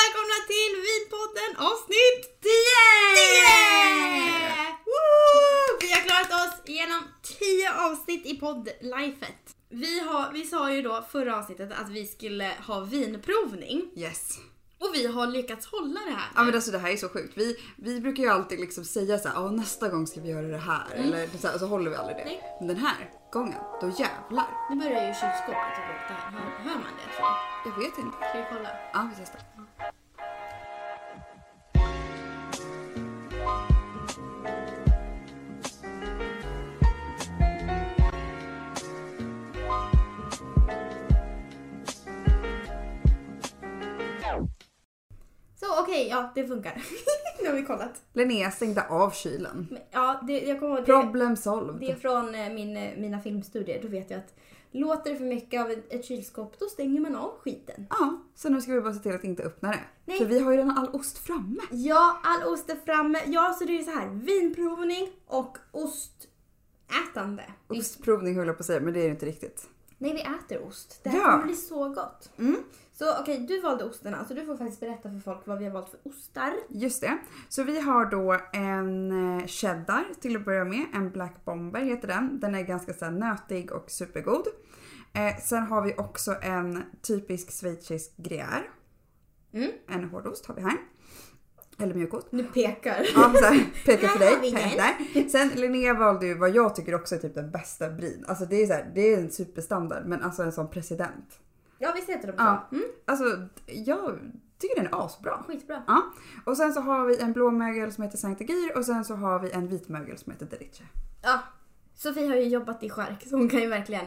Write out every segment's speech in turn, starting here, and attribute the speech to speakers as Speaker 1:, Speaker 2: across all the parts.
Speaker 1: välkomna till Vinpodden avsnitt 10! 10! Vi har klarat oss igenom 10 avsnitt i poddlifet. Vi, har, vi sa ju då förra avsnittet att vi skulle ha vinprovning
Speaker 2: Yes.
Speaker 1: och vi har lyckats hålla det här.
Speaker 2: Ja men alltså det här är så sjukt. Vi, vi brukar ju alltid liksom säga så här, "Ja, nästa gång ska vi göra det här. Eller så, här, så håller vi aldrig det.
Speaker 1: Mm. Nej.
Speaker 2: Men den här gången, då jävlar.
Speaker 1: Nu börjar ju kylskåpet att låta här. Hör, hör man det tror jag?
Speaker 2: Jag vet inte.
Speaker 1: Ska vi kolla?
Speaker 2: Ja vi testar.
Speaker 1: Så okej, ja det funkar. nu har vi kollat.
Speaker 2: Linnea stängde av kylen.
Speaker 1: Men, ja, det, jag kommer ihåg det.
Speaker 2: Problem
Speaker 1: Det är
Speaker 2: solved.
Speaker 1: från eh, min, eh, mina filmstudier. Då vet jag att låter det för mycket av ett, ett kylskåp då stänger man av skiten.
Speaker 2: Ja, så nu ska vi bara se till att inte öppna det.
Speaker 1: Nej.
Speaker 2: För vi har ju redan all ost framme.
Speaker 1: Ja, all ost är framme. Ja, så det är så här vinprovning och ostätande. Vi-
Speaker 2: Ostprovning höll jag på att säga, men det är det inte riktigt.
Speaker 1: Nej, vi äter ost. Det här
Speaker 2: Ja.
Speaker 1: kommer bli så gott.
Speaker 2: Mm.
Speaker 1: Så okej, du valde osterna. Så du får faktiskt berätta för folk vad vi har valt för ostar.
Speaker 2: Just det. Så vi har då en eh, cheddar till att börja med. En Black Bomber heter den. Den är ganska så här, nötig och supergod. Eh, sen har vi också en typisk schweizisk gruyère.
Speaker 1: Mm.
Speaker 2: En hårdost har vi här. Eller mjukost.
Speaker 1: Nu pekar.
Speaker 2: Ja, så här, pekar för
Speaker 1: Här har vi
Speaker 2: dig.
Speaker 1: den.
Speaker 2: Peter. Sen Linnea valde ju vad jag tycker också är typ den bästa brin. Alltså det är, så här, det är en superstandard men alltså en sån president.
Speaker 1: Ja, visst heter de så?
Speaker 2: Ja.
Speaker 1: Mm,
Speaker 2: Alltså jag tycker den är asbra.
Speaker 1: skitbra.
Speaker 2: Ja, och sen så har vi en blå mögel som heter Sankta Gir och sen så har vi en vit mögel som heter Deriche.
Speaker 1: Ja. Sofie har ju jobbat i skärk så hon kan ju verkligen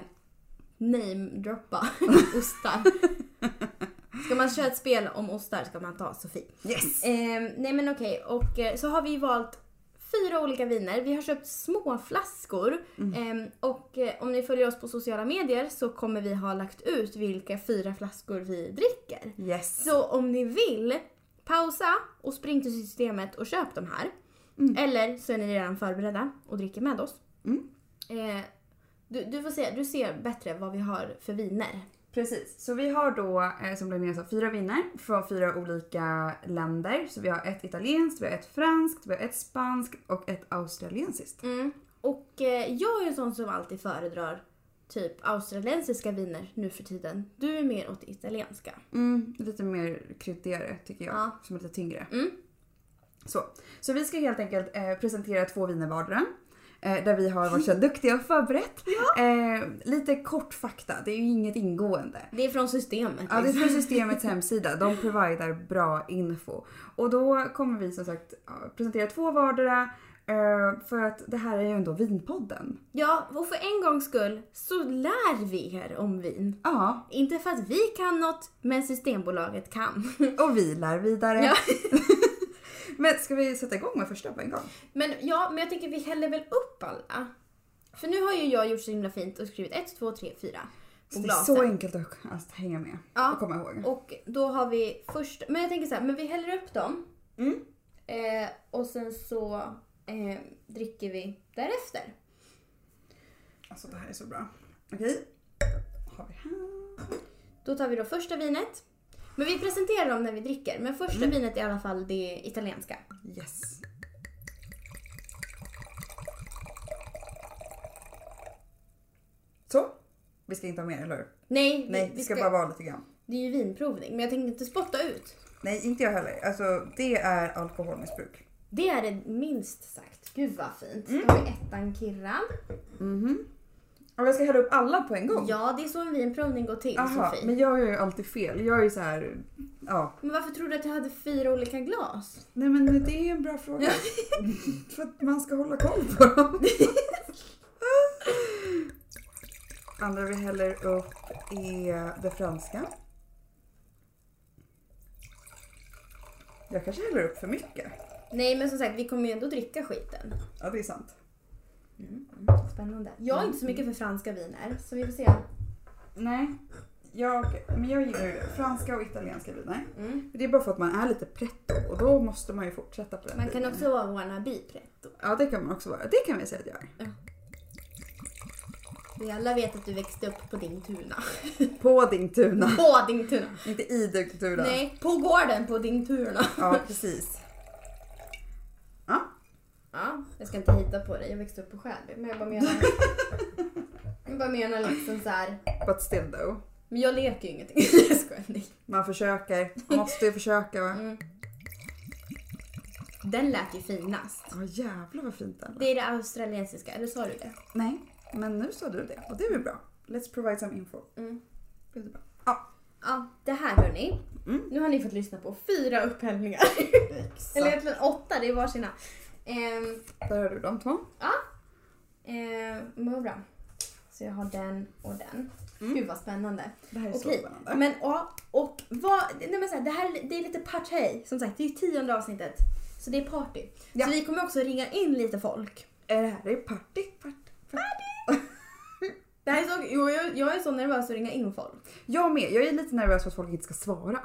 Speaker 1: namedroppa ostar. Ska man köra ett spel om ostar ska man ta Sofie.
Speaker 2: Yes!
Speaker 1: Eh, nej men okej, och eh, så har vi valt fyra olika viner. Vi har köpt små flaskor eh, och eh, om ni följer oss på sociala medier så kommer vi ha lagt ut vilka fyra flaskor vi dricker.
Speaker 2: Yes!
Speaker 1: Så om ni vill, pausa och spring till systemet och köp de här. Eller så är ni redan förberedda och dricker med oss.
Speaker 2: Mm.
Speaker 1: Eh, du, du får se, du ser bättre vad vi har för viner.
Speaker 2: Precis, så vi har då eh, som Linnea sa fyra viner från fyra olika länder. Så vi har ett italienskt, vi har ett franskt, vi har ett spanskt och ett australiensiskt.
Speaker 1: Mm. Och eh, jag är en sån som alltid föredrar typ australiensiska viner nu för tiden. Du är mer åt italienska.
Speaker 2: Mm, lite mer kryddigare tycker jag,
Speaker 1: Ja.
Speaker 2: som är lite tyngre.
Speaker 1: Mm.
Speaker 2: Så. så vi ska helt enkelt eh, presentera två viner vardera. Eh, där vi har varit så duktiga och förberett. Eh, lite kort fakta, det är ju inget ingående.
Speaker 1: Det är från systemet.
Speaker 2: Ja, det är
Speaker 1: liksom.
Speaker 2: från systemets hemsida. De providar bra info. Och då kommer vi som sagt ja, presentera två vardera. eh, För att det här är ju ändå Vinpodden.
Speaker 1: ja, och för en gångs skull så lär vi er om vin.
Speaker 2: Ja,
Speaker 1: Inte för att vi kan något, men Systembolaget kan.
Speaker 2: och vi lär vidare.
Speaker 1: Ja.
Speaker 2: Men ska vi sätta igång med första på en gång?
Speaker 1: Men ja, men jag tycker vi häller väl upp alla. För nu har ju jag gjort så himla fint och skrivit 1, 2, 3, 4 på
Speaker 2: Så det är så
Speaker 1: glasen.
Speaker 2: enkelt att, att hänga med
Speaker 1: Ja.
Speaker 2: och komma ihåg.
Speaker 1: Och då har vi först, men jag tänker så här, men vi häller upp dem.
Speaker 2: Mm.
Speaker 1: Eh, och sen så eh, dricker vi därefter.
Speaker 2: Alltså det här är så bra. Okej. Vad Har vi här?
Speaker 1: Då tar vi då första vinet. Men vi presenterar dem när vi dricker. Men
Speaker 2: Mm.
Speaker 1: första vinet är i alla fall det italienska.
Speaker 2: Yes. Så. Vi ska inte ha mer, eller hur?
Speaker 1: Nej,
Speaker 2: Nej,
Speaker 1: vi,
Speaker 2: det ska bara vara lite grann.
Speaker 1: det är ju vinprovning. Men jag tänker inte spotta ut.
Speaker 2: Nej, inte jag heller. Alltså det är alkoholmissbruk.
Speaker 1: Det är det minst sagt. Gud vad fint.
Speaker 2: Mm.
Speaker 1: Då har vi ettan kirran.
Speaker 2: Och Mhm. jag ska hälla upp alla på en gång?
Speaker 1: Ja, det är så en vinprovning går till
Speaker 2: Aha,
Speaker 1: Sofie. Men...
Speaker 2: men jag gör ju alltid fel. Jag är ju så här, ja.
Speaker 1: varför tror du att jag hade fyra olika glas?
Speaker 2: Nej men det är en bra fråga. För att man ska hålla koll på dem. Andra vi häller upp är det franska. Jag kanske häller upp för mycket.
Speaker 1: Nej, men som sagt, vi kommer ju ändå dricka skiten.
Speaker 2: Ja det är sant. Mm,
Speaker 1: Spännande. Jag är inte så mycket för franska viner, så vi får se.
Speaker 2: Nej, jag, men jag gillar ju franska och italienska viner. Det är bara för att man är lite pretto och då måste man ju fortsätta på den
Speaker 1: Man kan
Speaker 2: linjen.
Speaker 1: också vara wannabe pretto.
Speaker 2: Ja det kan man också vara. Det kan vi säga att jag är.
Speaker 1: Vi Vi alla vet att du växte upp på din tuna.
Speaker 2: På din tuna.
Speaker 1: På din tuna.
Speaker 2: Inte i din tuna.
Speaker 1: Nej, på gården på din tuna.
Speaker 2: Ja, precis. Ja,
Speaker 1: Ja, jag ska inte hitta på dig. Jag växte upp på Skärby. Men jag bara menar... jag bara menar liksom så här.
Speaker 2: but still though.
Speaker 1: Men jag leker ju ingenting. Jag skojar. Nej.
Speaker 2: Man försöker. Man måste ju försöka va?
Speaker 1: Mm. Den lät ju finast.
Speaker 2: Ja jävlar vad fint det
Speaker 1: Det är det australiensiska, eller sa du det?
Speaker 2: Nej, men nu sa du det och det är väl bra. Let's provide some info.
Speaker 1: Mm.
Speaker 2: Det är bra. Ja,
Speaker 1: Ja, det här hörni.
Speaker 2: Mm.
Speaker 1: Nu har ni fått lyssna på fyra upphällningar.
Speaker 2: exakt.
Speaker 1: eller egentligen åtta, det är varsina. Ehm,
Speaker 2: Där har du de två.
Speaker 1: Ja. Ehm, men vad bra. Så jag har den och den. Gud vad spännande.
Speaker 2: Mm. Det här är så
Speaker 1: Okej,
Speaker 2: spännande.
Speaker 1: men ja, och vad, nej men så här, det här det är lite partaj. Som sagt, det är ju tionde avsnittet. Så det är party.
Speaker 2: Ja.
Speaker 1: Så vi kommer också ringa in lite folk.
Speaker 2: Är det här det är party? party, party.
Speaker 1: Det här är så, jo, jag, jag är så nervös att ringa in folk.
Speaker 2: Jag med. Jag är lite nervös för att folk inte ska svara.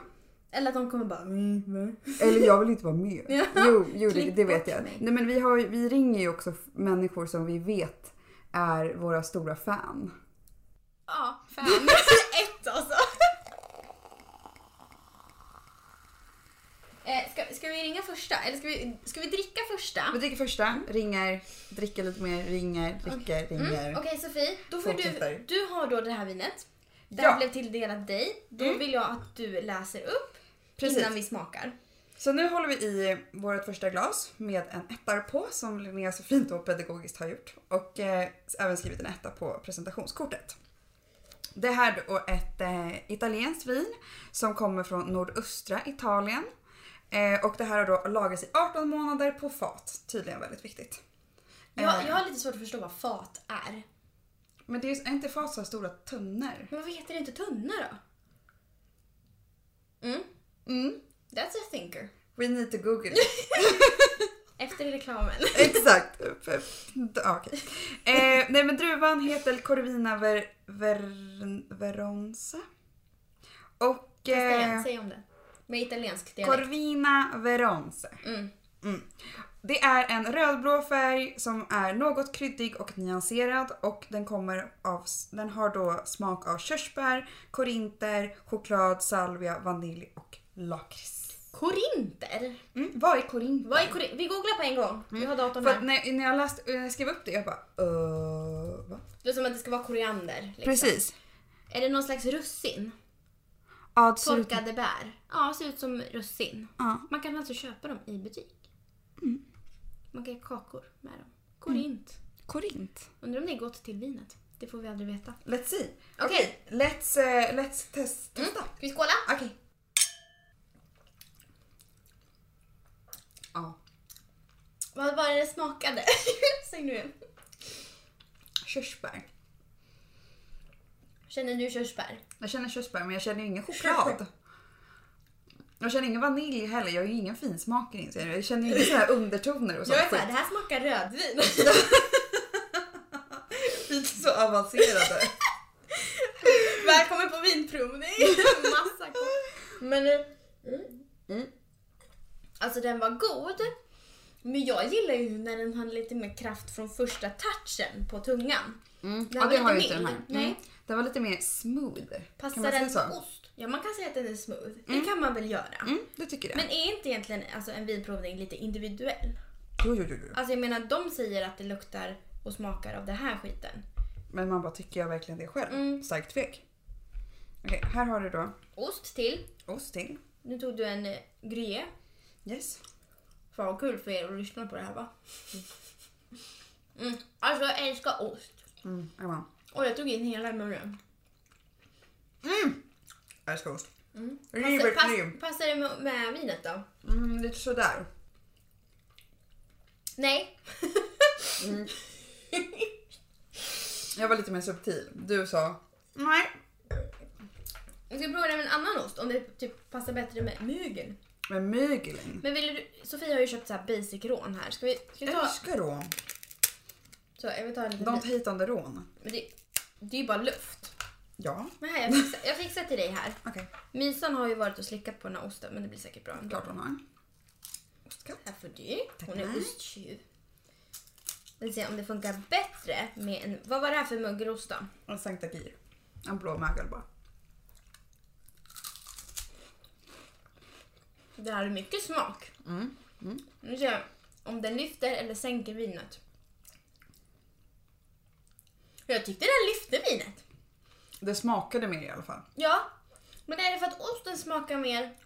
Speaker 1: Eller att de kommer bara... Mm, mm.
Speaker 2: Eller jag vill inte vara med.
Speaker 1: Ja.
Speaker 2: Jo, jo det,
Speaker 1: Klipp
Speaker 2: det vet
Speaker 1: bort
Speaker 2: jag.
Speaker 1: mig.
Speaker 2: Nej, men vi, har, ju- vi ringer ju också f- människor som vi vet är våra stora fan.
Speaker 1: Ja, fan. Ett alltså. Eh, ska, ska vi ringa första? Eller ska vi, ska vi dricka första?
Speaker 2: Vi dricker första, ringer, dricker lite mer, ringer, dricker, ringer.
Speaker 1: Mm, Okej Sofie, då får
Speaker 2: Fortsätter.
Speaker 1: du, du har då det här vinet. Det
Speaker 2: Ja. Mm.
Speaker 1: här blev tilldelat dig. Då vill jag att du läser upp
Speaker 2: Precis.
Speaker 1: innan vi smakar.
Speaker 2: Så nu håller vi i vårt första glas med en etta på som Linnea så fint och pedagogiskt har gjort och eh, även skrivit en etta på presentationskortet. Det här då är ett eh, italienskt vin som kommer från nordöstra Italien eh, och det här har då lagrats i 18 månader på fat. Tydligen väldigt viktigt.
Speaker 1: Jag,
Speaker 2: Eh.
Speaker 1: jag har lite svårt att förstå vad fat är.
Speaker 2: Men det är, är inte fat så här stora tunnor?
Speaker 1: Men varför heter det inte tunna då? Mm,
Speaker 2: Mm.
Speaker 1: that's a thinker.
Speaker 2: We need to google.
Speaker 1: Efter reklamen.
Speaker 2: Exakt. Ja, Okej. Eh, nej men druvan heter Corvina ver, ver, Veronza. Och
Speaker 1: Testa igen,
Speaker 2: eh,
Speaker 1: säg om det. Med italiensk dialekt.
Speaker 2: Corvina Veronza.
Speaker 1: Mm.
Speaker 2: Mm. Det är en rödblå färg som är något kryddig och nyanserad och den kommer av, den har då smak av körsbär, korinter, choklad, salvia, vanilj och lakrits.
Speaker 1: Korinter?
Speaker 2: Mm. Vad är korinter?
Speaker 1: Vad är korin- Vi googlar på en gång. Vi har datorn
Speaker 2: För att
Speaker 1: här.
Speaker 2: när, när jag läst, när jag skrev upp det jag bara uh, va?
Speaker 1: Det är som att det ska vara koriander. Liksom.
Speaker 2: Precis.
Speaker 1: Är det någon slags russin?
Speaker 2: Ja, absolut.
Speaker 1: Torkade bär. Ja, ser ut som russin.
Speaker 2: Ja.
Speaker 1: Man kan alltså köpa dem i butik. Man kan göra kakor med dem. Korint.
Speaker 2: Mm. Korint.
Speaker 1: Undrar om det är gott till vinet. Det får vi aldrig veta.
Speaker 2: Let's see.
Speaker 1: Okej.
Speaker 2: Let's, eh, let's test, testa.
Speaker 1: Ska vi skåla?
Speaker 2: Okej. Ja.
Speaker 1: Vad var det det smakade? Säg nu igen.
Speaker 2: Körsbär.
Speaker 1: Känner du körsbär?
Speaker 2: Jag känner körsbär men jag känner ju ingen choklad. Jag känner ingen vanilj heller. Jag är ju ingen finsmakare inser jag. Jag känner ju inga såna här undertoner och sånt
Speaker 1: Jag är såhär, det
Speaker 2: skit.
Speaker 1: här smakar rödvin.
Speaker 2: Vi är inte så avancerade.
Speaker 1: Välkommen på vinprovning. Massa kort. Men... eh, Mm.
Speaker 2: Mm.
Speaker 1: Alltså den var god. Men jag gillar ju när den har lite mer kraft från första touchen på tungan.
Speaker 2: Mm.
Speaker 1: Den
Speaker 2: Ja,
Speaker 1: var
Speaker 2: det har ju
Speaker 1: lite
Speaker 2: inte den här.
Speaker 1: mild. Nej.
Speaker 2: Den var lite mer smooth. kan
Speaker 1: Passar
Speaker 2: man säga
Speaker 1: den
Speaker 2: så?
Speaker 1: på ost? Ja, man kan säga att den är smooth. Det kan man väl göra.
Speaker 2: Mm, det tycker jag.
Speaker 1: Men är inte egentligen alltså, en vinprovning lite individuell?
Speaker 2: Jo, jo, jo, jo.
Speaker 1: Alltså jag menar, de säger att det luktar och smakar av den här skiten.
Speaker 2: Men man bara, tycker jag verkligen det själv?
Speaker 1: Mm.
Speaker 2: Starkt tvek. Okej, här har du då
Speaker 1: Ost till.
Speaker 2: ost till.
Speaker 1: Nu tog du en eh, gruyère.
Speaker 2: Yes.
Speaker 1: Fan vad kul för er att lyssna på det här va? Mm. Alltså jag älskar ost.
Speaker 2: Mm, jag bara,
Speaker 1: Och jag tog in hela i munnen.
Speaker 2: mm. Jag älskar ost.
Speaker 1: Mm.
Speaker 2: River
Speaker 1: Passar- pass-
Speaker 2: cream.
Speaker 1: passar det med, med vinet då?
Speaker 2: Mm, lite sådär.
Speaker 1: Nej.
Speaker 2: Jag var lite mer subtil. Du sa nej.
Speaker 1: Jag ska prova det med en annan ost om det typ passar bättre med mygel.
Speaker 2: Men mögeln.
Speaker 1: Men vill du, Sofia har ju köpt så här basic rån här. Ska vi, ska vi ta,
Speaker 2: Älskar rån.
Speaker 1: så, jag vill ta en liten
Speaker 2: Don't
Speaker 1: bit.
Speaker 2: hate on the rån.
Speaker 1: Men det, det är ju bara luft.
Speaker 2: Ja,
Speaker 1: Men här, jag fixar, jag fixar till dig här.
Speaker 2: okej.
Speaker 1: Mysan har ju varit och slickat på den här osten men det blir säkert bra ändå.
Speaker 2: Klart hon har. Ostkatt.
Speaker 1: Här får du. Hon är
Speaker 2: Tackar.
Speaker 1: osttjuv. Vi ser om det funkar bättre med en... Vad var det här för mögelost då?
Speaker 2: Och Sankta Gyr. En blå mögel bara.
Speaker 1: Det här är mycket smak.
Speaker 2: Mm.
Speaker 1: Nu ser jag om den lyfter eller sänker vinet. Jag tyckte den lyfte vinet.
Speaker 2: Det smakade mer i alla fall.
Speaker 1: Ja. Men är det för att osten smakar mer?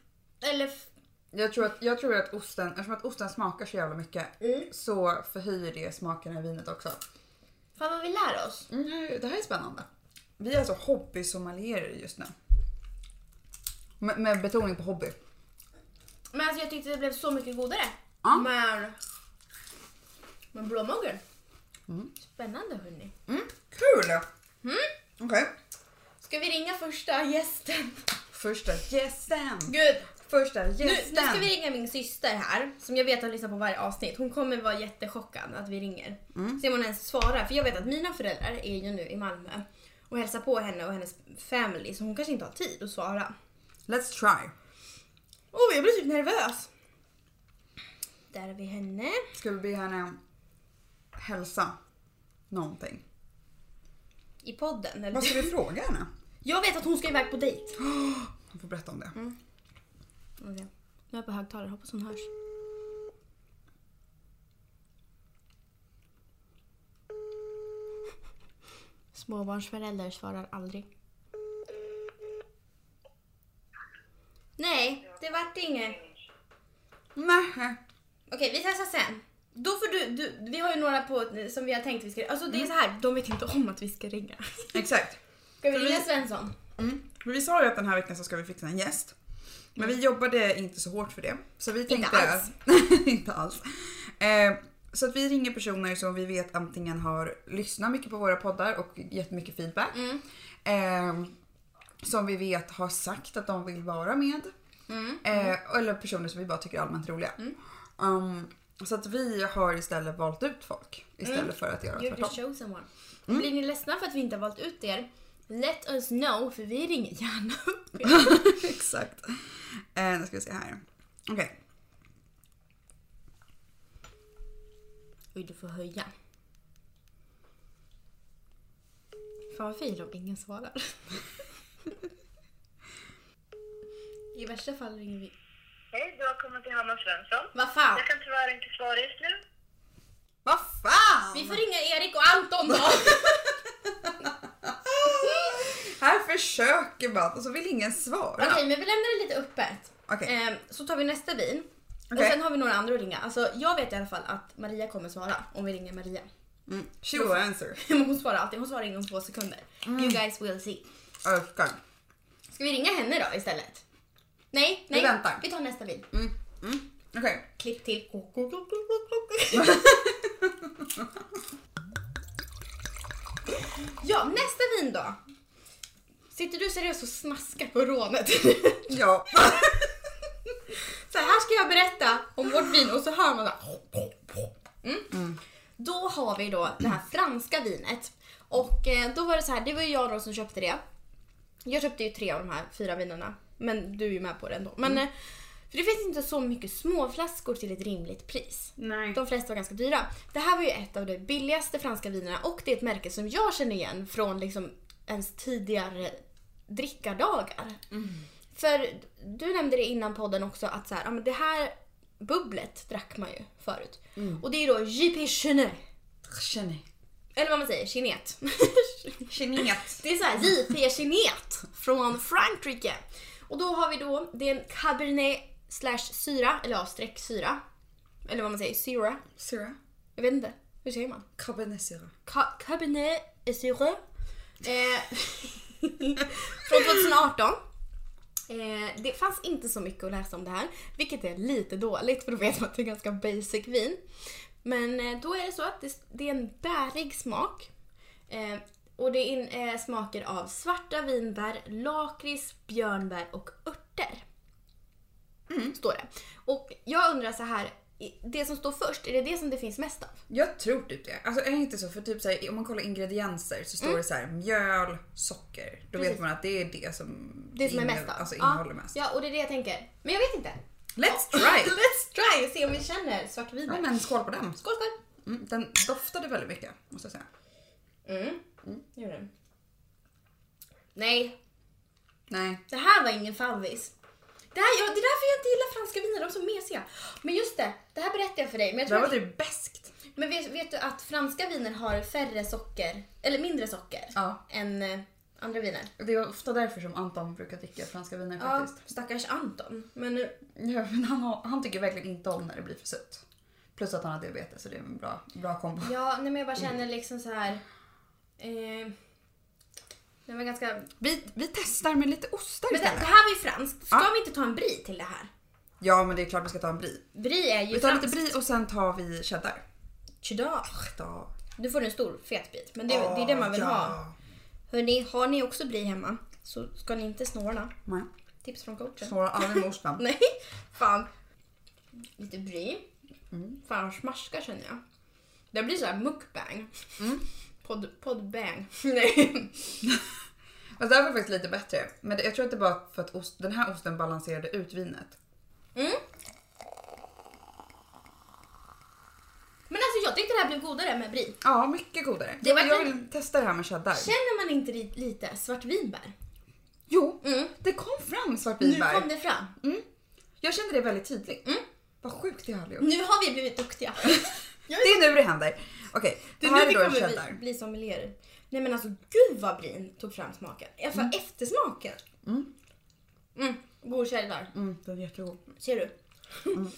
Speaker 1: Eller... f-
Speaker 2: Jag tror att, jag tror att osten, eftersom att osten smakar så jävla mycket så förhöjer det smaken i vinet också.
Speaker 1: Fan vad vi lär oss.
Speaker 2: Mm, det här är spännande. Vi är alltså hobby-sommelierer just nu. Med, med betoning på hobby.
Speaker 1: Men alltså jag tyckte det blev så mycket godare.
Speaker 2: Ja.
Speaker 1: Med, med blåmögel. Spännande hörni.
Speaker 2: Mm, kul! Mm. Okej.
Speaker 1: Ska vi ringa första gästen?
Speaker 2: Första gästen!
Speaker 1: Gud!
Speaker 2: Första
Speaker 1: Nu, nu
Speaker 2: gästen!
Speaker 1: ska vi ringa min syster här, som jag vet har lyssnat på varje avsnitt. Hon kommer vara jättechockad att vi ringer.
Speaker 2: Mm.
Speaker 1: Se om hon ens svarar, för jag vet att mina föräldrar är ju nu i Malmö och hälsar på henne och hennes family, så hon kanske inte har tid att svara.
Speaker 2: Let's try.
Speaker 1: Åh, jag blir typ nervös! Där har vi henne.
Speaker 2: Ska vi be henne hälsa någonting?
Speaker 1: I podden, eller?
Speaker 2: Vad ska vi fråga henne?
Speaker 1: Jag vet att hon ska iväg på dejt.
Speaker 2: Hon får berätta om det.
Speaker 1: Okej. Nu är jag på högtalare, hoppas hon hörs. Småbarnsförälder svarar aldrig. Nej, det vart inget.
Speaker 2: Nej.
Speaker 1: Okej, vi testar sen. Då får du, du, vi har ju några på som vi har tänkt vi ska Alltså det är så här, de vet inte om att vi ska ringa.
Speaker 2: Exakt.
Speaker 1: Ska vi
Speaker 2: vi-
Speaker 1: ringa Svensson?
Speaker 2: Mm. Men vi sa ju att den här veckan så ska vi fixa en gäst. Men vi jobbade inte så hårt för det. Så vi tänkte...
Speaker 1: alls.
Speaker 2: inte alls. Eh, så att vi ringer personer som vi vet antingen har lyssnat mycket på våra poddar och gett mycket feedback.
Speaker 1: Mm.
Speaker 2: Eh, som vi vet har sagt att de vill vara med.
Speaker 1: Mm.
Speaker 2: Eh, eller personer som vi bara tycker är allmänt roliga. Um, så att vi har istället valt ut folk istället
Speaker 1: Mm.
Speaker 2: för att göra
Speaker 1: You're the
Speaker 2: tvärtom.
Speaker 1: chosen one. Blir ni ledsna för att vi inte har valt ut er? Let us know, för vi ringer gärna upp er.
Speaker 2: Exakt. Eh, nu ska vi se här. Okej.
Speaker 1: Oj, du får höja. Fan vad fint om ingen svarar. I värsta fall ringer vi...
Speaker 3: Hej, du har kommit till Hanna Svensson.
Speaker 1: Vad fan!
Speaker 3: Jag kan tyvärr inte svara just nu.
Speaker 2: Vad fan!
Speaker 1: Vi får ringa Erik och Anton då!
Speaker 2: Här försöker man och så vill ingen svara.
Speaker 1: Okej, men vi lämnar det lite öppet.
Speaker 2: Okej.
Speaker 1: Ehm, så tar vi nästa vin. Och
Speaker 2: Okej.
Speaker 1: sen har vi några andra att ringa. Alltså, jag vet i alla fall att Maria kommer svara om vi ringer Maria.
Speaker 2: Mm. She will answer.
Speaker 1: Men hon svarar alltid. Hon svarar inom två sekunder.
Speaker 2: Mm.
Speaker 1: You guys will see.
Speaker 2: Älskar.
Speaker 1: Ska vi ringa henne då istället? Nej,
Speaker 2: Vi
Speaker 1: nej.
Speaker 2: väntar.
Speaker 1: Vi tar nästa vin.
Speaker 2: Okej.
Speaker 1: Klipp till. ja, nästa vin då. Sitter du seriöst och smaskar på rånet?
Speaker 2: Ja.
Speaker 1: så här ska jag berätta om vårt vin och så hör man så här. Mm. Då har vi då det här franska vinet. Och eh, då var det så här, det var ju jag då som köpte det. Jag köpte ju tre av de här fyra vinerna. Men du är ju med på det ändå. Men, eh, För det finns inte så mycket småflaskor till ett rimligt pris.
Speaker 2: Nej.
Speaker 1: De flesta var ganska dyra. Det här var ju ett av de billigaste franska vinerna och det är ett märke som jag känner igen från liksom ens tidigare drickardagar. För du nämnde det innan podden också att så här, ja, men det här bubblet drack man ju förut. Och det är då JP Chenet.
Speaker 2: Känner.
Speaker 1: Eller vad man säger, kinet.
Speaker 2: Kinet.
Speaker 1: det är så här JP Kinet från Frankrike. Och då har vi då, det är en cabernet slash syra, eller ja, streck syra. Eller vad man säger, syra.
Speaker 2: Syra.
Speaker 1: Jag vet inte, hur säger man?
Speaker 2: Cabernet syra.
Speaker 1: Ca- Cabernet et Syrah. Eh, från 2018. Eh, det fanns inte så mycket att läsa om det här, vilket är lite dåligt för då vet man att det är ganska basic vin. Men eh, då är det så att det, det är en bärig smak. Eh, och det är in, eh, smaker av svarta vinbär, lakrits, björnbär och örter. Står det. Och jag undrar så här, i- det som står först, är det det som det finns mest av?
Speaker 2: Jag tror typ det. Alltså är det inte så? För typ så här, om man kollar ingredienser så står det så här mjöl, socker. Då
Speaker 1: Precis.
Speaker 2: vet man att det är det som,
Speaker 1: Det som är
Speaker 2: inne-
Speaker 1: mest av.
Speaker 2: Alltså
Speaker 1: Ja,
Speaker 2: innehåller mest.
Speaker 1: Ja, och det är det jag tänker. Men jag vet inte.
Speaker 2: Let's try!
Speaker 1: Let's try och se om vi känner svartviner.
Speaker 2: ja men skål på den.
Speaker 1: Skål, skål!
Speaker 2: Mm, den doftade väldigt mycket måste jag säga.
Speaker 1: Mm. det gjorde den. Nej,
Speaker 2: Nej.
Speaker 1: det här var ingen favvis. Det, här, ja, det är därför jag inte gillar franska viner, de är så mesiga. Men just det, det här berättade jag för dig. Men, jag
Speaker 2: Det här
Speaker 1: tror
Speaker 2: var typ beskt.
Speaker 1: att, men vet, vet du att franska viner har färre socker, eller mindre socker,
Speaker 2: Ja.
Speaker 1: än eh, andra viner?
Speaker 2: Det är ofta därför som Anton brukar dricka franska viner
Speaker 1: Ja,
Speaker 2: faktiskt.
Speaker 1: stackars Anton. Men eh,
Speaker 2: Ja, men han, har- han tycker verkligen inte om när det blir för sött. Plus att han har diabetes så det är en bra, bra kombo.
Speaker 1: ja, nej, men jag bara känner liksom så här. Eh, den var ganska...
Speaker 2: Vi, vi testar med lite ostar
Speaker 1: Men det, det
Speaker 2: istället.
Speaker 1: här var ju franskt. Ska
Speaker 2: Ja.
Speaker 1: vi inte ta en brie till det här?
Speaker 2: Ja men det är klart vi ska ta en brie.
Speaker 1: Brie är ju
Speaker 2: Vi tar lite
Speaker 1: franskt.
Speaker 2: brie och sen tar vi cheddar.
Speaker 1: Cheddar.
Speaker 2: Då.
Speaker 1: Du får en stor fet bit, men det, det är det man vill
Speaker 2: Ja.
Speaker 1: ha. Hörrni, har ni också brie hemma så ska ni inte snorna.
Speaker 2: Nej,
Speaker 1: Tips från coachen.
Speaker 2: svåra aldrig med osten.
Speaker 1: Nej, fan. Lite brie.
Speaker 2: Mm.
Speaker 1: Fan, smaska känner jag. Det blir så här mukbang.
Speaker 2: Mm.
Speaker 1: Pod, podbang. Nej.
Speaker 2: Fast Alltså, det här var faktiskt lite bättre. Men det, jag tror att det var för att ost, den här osten balanserade ut vinet.
Speaker 1: Men alltså jag tyckte det här blev godare med brie.
Speaker 2: Ja, mycket godare.
Speaker 1: Det var
Speaker 2: jag, jag
Speaker 1: lite-
Speaker 2: vill testa det här med cheddar.
Speaker 1: Känner man inte li- lite svartvinbär?
Speaker 2: Jo,
Speaker 1: Mm.
Speaker 2: det kom fram
Speaker 1: Nu
Speaker 2: svartvinbär.
Speaker 1: kom Mm. det fram.
Speaker 2: Jag kände det väldigt tydligt. Vad sjukt det har jag gjort.
Speaker 1: Nu har vi blivit duktiga.
Speaker 2: Det är nu det händer. Okej,
Speaker 1: Det
Speaker 2: det
Speaker 1: är
Speaker 2: här
Speaker 1: nu vi
Speaker 2: är då en
Speaker 1: kommer bli,
Speaker 2: cheddar.
Speaker 1: bli sommelierer. Nej men alltså gud vad Brin tog fram smaken. I alla fall eftersmaken.
Speaker 2: Mm.
Speaker 1: Mm, god cheddar.
Speaker 2: Mm, den är jättegod.
Speaker 1: Ser du?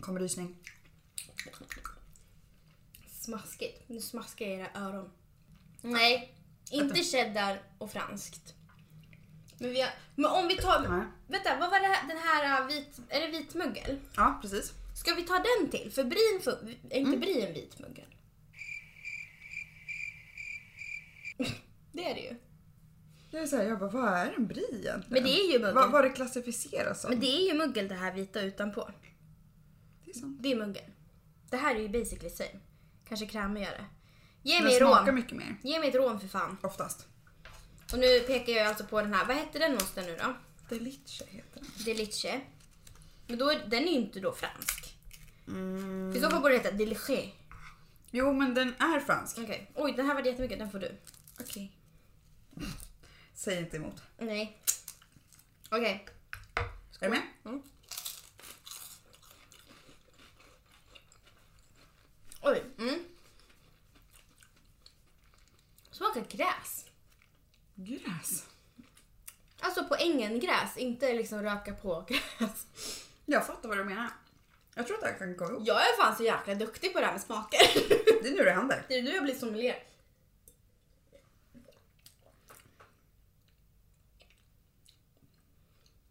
Speaker 2: Kommer rysning.
Speaker 1: Smaskigt. Nu smaskar jag i era öron. Nej, inte cheddar och franskt. Men, vi har, men om vi tar...
Speaker 2: Nej.
Speaker 1: Vänta, vad var det här, den här äh, vit... Är det vitmögel?
Speaker 2: Ja, precis.
Speaker 1: Ska vi ta den till? För brin får, är inte brin en vitmögel? Det är det ju.
Speaker 2: Jag, är så här, jag bara, vad är en brie egentligen?
Speaker 1: Men det är ju muggel.
Speaker 2: Vad, vad det klassificeras som.
Speaker 1: Men det är ju muggel det här vita utanpå.
Speaker 2: Det är sant.
Speaker 1: Det är muggel. Det här är ju basically same. Kanske krämigare. Ge
Speaker 2: Den
Speaker 1: mig
Speaker 2: smakar
Speaker 1: rom.
Speaker 2: mycket mer.
Speaker 1: Ge mig ett rom för fan.
Speaker 2: Oftast.
Speaker 1: Och nu pekar jag alltså på den här. Vad hette den osten nu då?
Speaker 2: Delicia heter den.
Speaker 1: Delice. Men då, är- den är ju inte då fransk. I så fall borde det heta Delice.
Speaker 2: Jo, men den är fransk.
Speaker 1: Okej. Oj, den här var jättemycket. Den får du. Okej.
Speaker 2: Säg inte emot.
Speaker 1: Nej. Okej.
Speaker 2: Är du med?
Speaker 1: Oj. Mm. Smakar gräs.
Speaker 2: Gräs.
Speaker 1: Alltså på ängengräs, inte liksom röka på gräs.
Speaker 2: Jag fattar vad du menar. Jag tror att det här kan gå ihop.
Speaker 1: Jag är fan så jäkla duktig på det här med smaker.
Speaker 2: Det är nu det händer.
Speaker 1: Det är nu jag blir sommelier.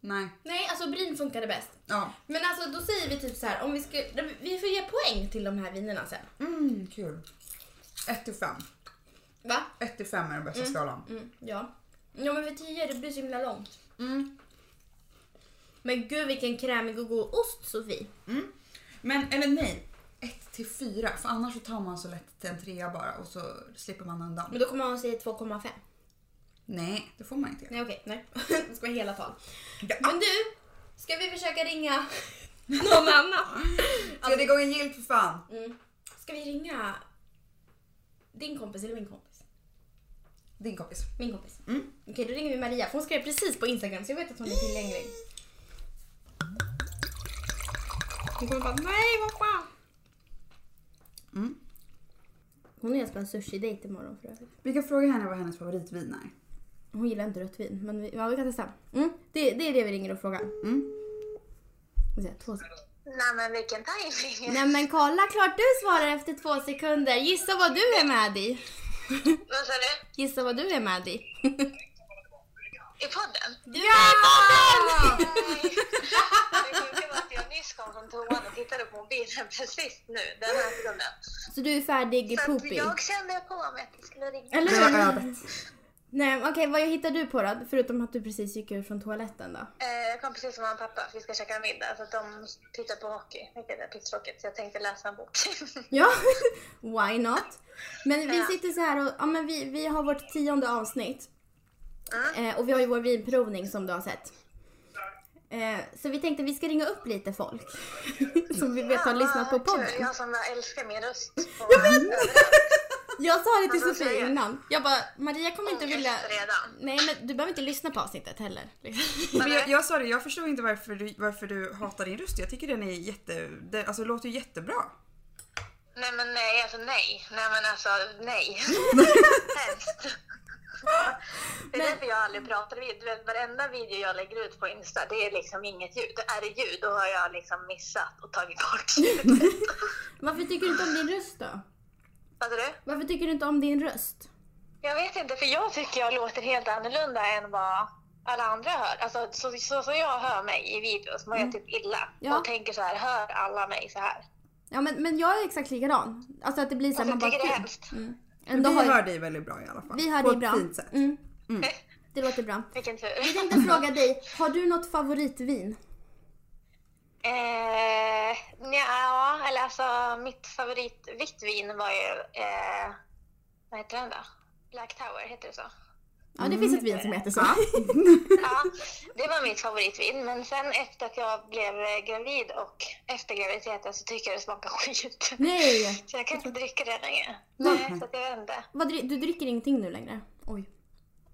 Speaker 2: Nej.
Speaker 1: Nej, alltså brin funkade bäst.
Speaker 2: Ja.
Speaker 1: Men alltså då säger vi typ så här, om vi ska, vi får ge poäng till de här vinerna sen.
Speaker 2: Mm, kul. 1 till 5.
Speaker 1: Va?
Speaker 2: 1 till 5 är den bästa skalan.
Speaker 1: Mm, ja. Ja men för 10 det blir så himla långt.
Speaker 2: Mm.
Speaker 1: Men gud vilken krämig och god ost Sofie.
Speaker 2: Men, eller nej. 1 till 4. För annars så tar man så lätt till en trea bara och så slipper man undan.
Speaker 1: Men då kommer hon säga 2,5.
Speaker 2: Nej, det får man inte göra.
Speaker 1: Nej okej, nej. Det ska vara hela tal.
Speaker 2: Ja.
Speaker 1: Men du, ska vi försöka ringa någon annan?
Speaker 2: Tredje gången gillt för fan.
Speaker 1: Mm. Ska vi ringa din kompis eller min kompis?
Speaker 2: Din kompis.
Speaker 1: Min kompis.
Speaker 2: Mm.
Speaker 1: Okej, då ringer vi Maria. För hon skrev precis på Instagram så jag vet att hon är tillgänglig. Hon kommer bara nej vad fan.
Speaker 2: Mm.
Speaker 1: Hon är ens på en sushi-dejt imorgon för övrigt.
Speaker 2: Vi kan fråga henne vad hennes favoritvin är.
Speaker 1: Hon gillar inte rött vin men vi, ja, vi kan testa. Mm. Det, det är det vi ringer och frågar.
Speaker 2: Mm.
Speaker 1: Vi säger Två sekunder.
Speaker 3: Nej men vilken timing.
Speaker 1: Nej men kolla klart du svarar efter två sekunder. Gissa vad du är med i.
Speaker 3: Vad sa du?
Speaker 1: Gissa vad du är med i.
Speaker 3: I podden?
Speaker 1: Du är med!
Speaker 3: Nej. Det sjuka var att jag nyss kom från toan och tittade på mobilen precis nu, den här sekunden.
Speaker 1: Så du är färdig i
Speaker 3: Så att
Speaker 1: poopy.
Speaker 3: jag kände på mig att jag skulle ringa.
Speaker 1: Eller
Speaker 2: Det var
Speaker 1: hur?
Speaker 2: ödet.
Speaker 1: Nej, okej, vad hittar du på då? Förutom att du precis gick ur från toaletten då?
Speaker 3: Eh, Jag kom precis med mamma och pappa för vi ska käka middag så att de tittar på hockey, vilket är pisstråkigt så jag tänkte läsa en bok.
Speaker 1: Ja, why not? Men vi
Speaker 3: Ja.
Speaker 1: sitter så här och ja, men vi, vi har vårt tionde avsnitt. Eh, och vi har ju vår vinprovning som du har sett. Eh, så vi tänkte vi ska ringa upp lite folk som vi vet har lyssnat på
Speaker 3: vad kul.
Speaker 1: podden.
Speaker 3: Jag som älskar min röst. på-
Speaker 1: Jag sa det till
Speaker 3: Vad sa
Speaker 1: Sofie
Speaker 3: jag?
Speaker 1: innan. Jag bara, Maria kommer inte
Speaker 3: Ångest
Speaker 1: vilja...
Speaker 3: redan.
Speaker 1: Nej men du behöver inte lyssna på avsnittet heller. liksom.
Speaker 2: Men jag, jag sa det, jag förstår inte varför du, varför du hatar din röst. Jag tycker den är jätte... Den, alltså låter ju jättebra.
Speaker 3: Nej men nej, alltså nej. Nej men alltså nej. Hemskt. Det är
Speaker 1: Men-
Speaker 3: därför jag aldrig pratar vid. Du vet, varenda video jag lägger ut på Insta, det är liksom inget ljud. Är det ljud, då har jag liksom missat och tagit bort ljudet.
Speaker 1: Varför tycker du inte om din röst då?
Speaker 3: Vad sa du?
Speaker 1: Varför tycker du inte om din röst?
Speaker 3: Jag vet inte, för jag tycker jag låter helt annorlunda än vad alla andra hör. Alltså så som så, så jag hör mig i videos mår jag typ illa.
Speaker 1: Mm. Ja.
Speaker 3: Och tänker så här, hör alla mig så här?
Speaker 1: Ja men, men jag är exakt likadan. Alltså att det blir såhär,
Speaker 3: Alltså,
Speaker 1: man
Speaker 3: jag
Speaker 1: bara...
Speaker 3: tycker det är
Speaker 1: "Gud."
Speaker 3: hemskt.
Speaker 1: Mm.
Speaker 2: Men
Speaker 1: Ändå
Speaker 2: vi
Speaker 1: har,
Speaker 2: hör dig väldigt bra i alla fall.
Speaker 1: vi hör
Speaker 2: På
Speaker 1: dig
Speaker 2: ett
Speaker 1: bra.
Speaker 2: fint sätt.
Speaker 1: Mm.
Speaker 3: Eh.
Speaker 1: Det låter bra.
Speaker 3: Vilken tur.
Speaker 1: Jag tänkte fråga dig, har du något favoritvin?
Speaker 3: Eh, ja, eller alltså mitt favorit vitt vin var ju, eh, vad heter den då? Black Tower, heter det så?
Speaker 1: Ja det finns ett
Speaker 2: Mm.
Speaker 1: vin som heter så.
Speaker 3: Ja, det var mitt favoritvin. Men sen efter att jag blev eh, gravid och efter graviditeten så tycker jag det smakar skit.
Speaker 1: Nej!
Speaker 3: Så jag kan inte dricka det längre. Nej, så att jag vet inte.
Speaker 1: Vad, dri- du dricker ingenting nu längre? Oj.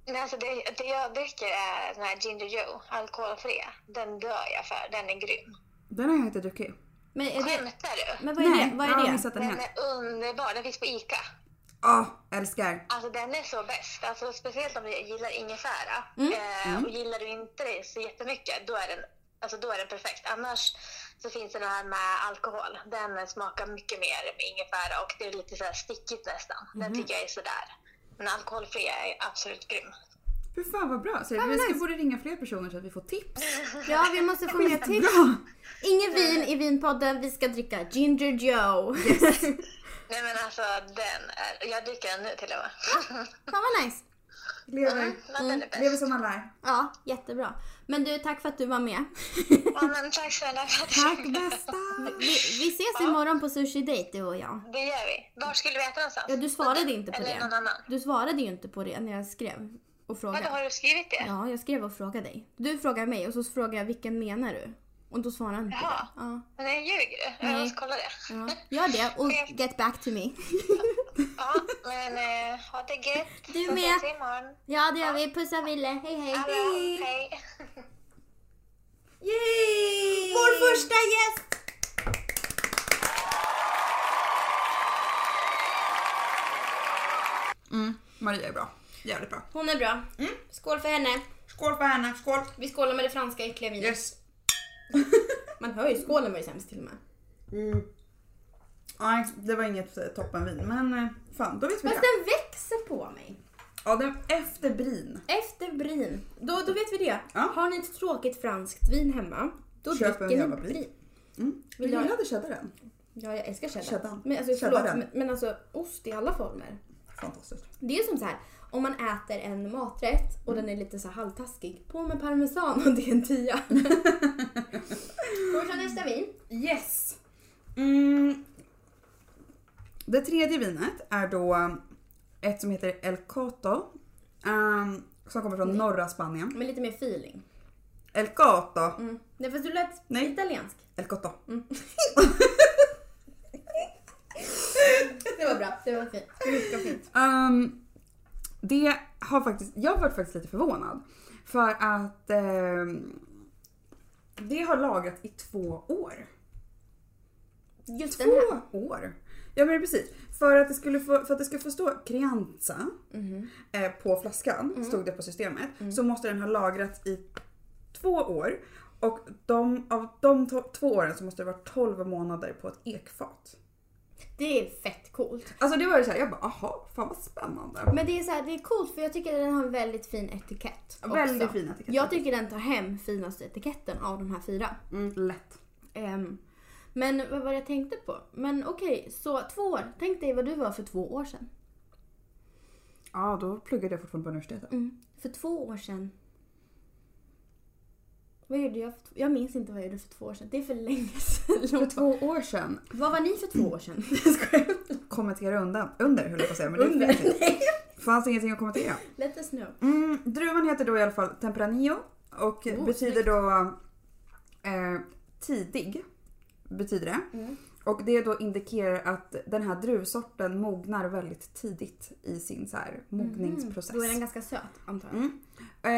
Speaker 3: Men alltså det, det jag dricker är den här Ginger Joe, alkoholfria. Den dör jag för, den är grym.
Speaker 2: Den har jag inte druckit.
Speaker 1: Men, är det,
Speaker 3: Skämtar du?
Speaker 1: men vad är
Speaker 2: Nej,
Speaker 1: det? Vad
Speaker 2: jag
Speaker 1: är
Speaker 2: har
Speaker 1: det?
Speaker 2: missat den
Speaker 3: Den
Speaker 2: helt.
Speaker 3: är underbar, den finns på ICA.
Speaker 2: Åh, älskar.
Speaker 3: Alltså den är så bäst. Alltså, speciellt om du gillar ingefära.
Speaker 1: Mm.
Speaker 3: Eh, och gillar du inte det så jättemycket, då är den, alltså, då är den perfekt. Annars så finns det den här med alkohol. Den smakar mycket mer med ingefära och det är lite så här stickigt nästan.
Speaker 1: Mm-hmm.
Speaker 3: Den tycker jag är sådär. Men alkoholfri är absolut grym.
Speaker 2: Fy fan vad bra. Så vi ska borde ringa fler personer så att vi får tips.
Speaker 1: Ja, vi måste få mer tips.
Speaker 2: Bra!
Speaker 1: Ingen vin i vinpodden, vi ska dricka Ginger Joe.
Speaker 3: Nej men alltså den är, jag dricker den nu till och med.
Speaker 1: Fan vad nice.
Speaker 2: Lever.
Speaker 3: Men den är bäst.
Speaker 2: Lever som alla är.
Speaker 1: Ja, jättebra. Men du, tack för att du var med.
Speaker 3: Ja, men tack snälla för att
Speaker 2: Tack bästa!
Speaker 1: Vi, vi ses imorgon på Sushi Date du och jag.
Speaker 3: Det gör vi. Var skulle vi äta någonstans?
Speaker 1: Ja, du svarade inte på
Speaker 3: Eller någon
Speaker 1: det.
Speaker 3: annan.
Speaker 1: Du svarade ju inte på det när jag skrev och
Speaker 3: Vadå,
Speaker 1: frågade.
Speaker 3: har du skrivit det?
Speaker 1: Ja, jag skrev och frågade dig. Du frågar mig och så frågar jag vilken menar du? Och då svarar inte
Speaker 3: Jaha.
Speaker 1: du. Ja,
Speaker 3: Nej, ljuger du?
Speaker 1: Nej.
Speaker 3: Jag måste kolla det.
Speaker 1: ja. Gör det och get back to me.
Speaker 3: Ja, men eh, ha det gött.
Speaker 1: Du
Speaker 3: Så
Speaker 1: med.
Speaker 3: ses vi imorgon.
Speaker 1: Ja, det gör vi. Pussa Ville. Hej, hej.
Speaker 3: Alla, hej.
Speaker 1: Yay! Vår första gäst!
Speaker 2: Mm, Maria är bra. Jävligt bra.
Speaker 1: Hon är bra. Skål för henne.
Speaker 2: Skål för henne, skål!
Speaker 1: Vi skålar med det franska äckliga vinet.
Speaker 2: Yes!
Speaker 1: Man hör ju skålen var ju sämst till och med.
Speaker 2: Nej, det var inget eh, toppenvin men eh, fan, då vet vi
Speaker 1: Fast
Speaker 2: det.
Speaker 1: den växer på mig.
Speaker 2: Ja, den efter brin.
Speaker 1: Efter brin. Då, då vet vi det.
Speaker 2: Ja.
Speaker 1: Har ni ett tråkigt franskt vin hemma, då
Speaker 2: Köp en
Speaker 1: dricker ni
Speaker 2: jävla
Speaker 1: brin.
Speaker 2: brin. Mm. Du
Speaker 1: Vill jag-
Speaker 2: gillade cheddaren.
Speaker 1: Ja, jag älskar cheddar.
Speaker 2: Cheddarn.
Speaker 1: Men alltså, förlåt,
Speaker 2: Cheddaren.
Speaker 1: men, men alltså ost i alla former.
Speaker 2: Fantastiskt.
Speaker 1: Det är ju som så här, om man äter en maträtt
Speaker 2: Mm.
Speaker 1: och den är lite så här halvtaskig, på med parmesan och det är en tia. Går vi till nästa vin?
Speaker 2: Yes! Mm. Det tredje vinet är då ett som heter El Coto. ehm, som kommer från norra Spanien.
Speaker 1: Med lite mer feeling.
Speaker 2: El Coto.
Speaker 1: Mm. Nej fast du lät
Speaker 2: Nej.
Speaker 1: italiensk.
Speaker 2: El Coto.
Speaker 1: Det var bra, det var fint. Mycket fint.
Speaker 2: Ehm, det har faktiskt, jag varit faktiskt lite förvånad. För att ehm, det har lagrat i två år.
Speaker 1: Just den här.
Speaker 2: Två år! Ja men precis. För att det skulle få, för att det skulle få stå Crianza
Speaker 1: Mhm.
Speaker 2: eh, på flaskan,
Speaker 1: Mm.
Speaker 2: stod det på systemet, så måste den ha lagrats i två år. Och de, av de to- två åren så måste det vara 12 månader på ett ekfat.
Speaker 1: Det är fett coolt.
Speaker 2: Alltså det var ju såhär, jag bara aha, fan vad spännande.
Speaker 1: Men det är, så här, det är coolt för jag tycker att den har en väldigt fin etikett. Också.
Speaker 2: Väldigt fin etikett.
Speaker 1: Jag tycker den tar hem finaste etiketten av de här fyra.
Speaker 2: Mm, lätt.
Speaker 1: Ehm, men vad var det jag tänkte på? Men okej, så två år. Tänk dig vad du var för två år sedan.
Speaker 2: Ja, då pluggade jag fortfarande på universitetet.
Speaker 1: Mm. För två år sedan. Vad gjorde jag? För två... Jag minns inte vad jag gjorde för två år sedan. Det är för länge sedan.
Speaker 2: För två år sedan
Speaker 1: Vad var ni för två år sedan? Jag skojar.
Speaker 2: kommentera undan, under höll jag på att säga, men det finns inte. fanns ingenting att kommentera.
Speaker 1: Let us know. Oh,
Speaker 2: Mm, druvan heter då i alla fall Tempranillo och betyder då eh, tidig betyder det.
Speaker 1: Mm.
Speaker 2: Och det då indikerar att den här druvsorten mognar väldigt tidigt i sin så här mogningsprocess.
Speaker 1: Mhm, Då är den ganska söt antar jag.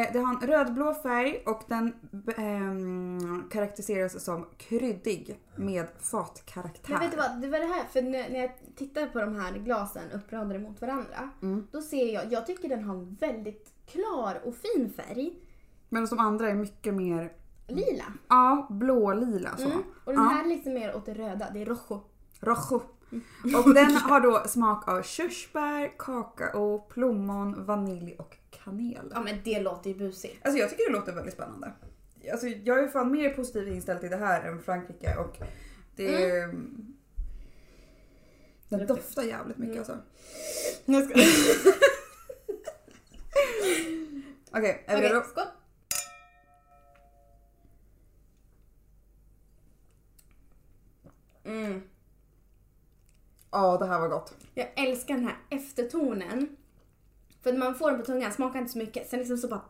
Speaker 2: Eh, Det har en rödblå färg och den ehm, karaktäriseras som kryddig med fatkaraktär.
Speaker 1: Men vet du vad, det var det här, för när när jag tittar på de här glasen uppradade mot varandra. Då ser jag, jag tycker den har en väldigt klar och fin färg.
Speaker 2: Men de andra är mycket mer
Speaker 1: Lila.
Speaker 2: ja, blålila så.
Speaker 1: Och den här är lite mer åt det röda, det är rojo.
Speaker 2: Rojo. Och den har då smak av körsbär, kakao, plommon, vanilj och kanel.
Speaker 1: Ja men det låter ju busigt.
Speaker 2: Alltså jag tycker det låter väldigt spännande. Alltså jag är fan mer positivt inställd till det här än Frankrike och det... Mm. Den doftar jävligt mycket alltså.
Speaker 1: Jag ska... Okej,
Speaker 2: Okej, är vi redo?
Speaker 1: skål. Mm.
Speaker 2: Ja, det här var gott.
Speaker 1: Jag älskar den här eftertonen. För när man får den på tungan smakar inte så mycket, sen liksom så bara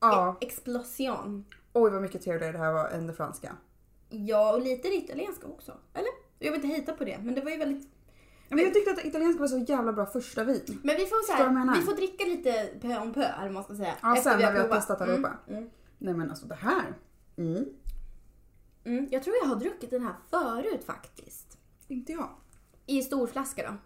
Speaker 2: Ja.
Speaker 1: explosion.
Speaker 2: Oj vad mycket trevligare det här var än det franska.
Speaker 1: Ja, och lite det italienska också. Eller? Jag vill inte hejta på det, men det var ju väldigt...
Speaker 2: Men jag tyckte att det italienska var så jävla bra första vin.
Speaker 1: Men vi får, så
Speaker 2: Förstår du vad jag
Speaker 1: här,
Speaker 2: menar?
Speaker 1: vi får dricka lite pö om pö, eller vad man ska säga.
Speaker 2: Ja,
Speaker 1: efter
Speaker 2: sen när vi har Mm.
Speaker 1: provat.
Speaker 2: testat allihopa. Nej men alltså det här. Mm.
Speaker 1: Mm, jag tror jag har druckit den här förut faktiskt.
Speaker 2: Inte jag.
Speaker 1: I stor flaska då.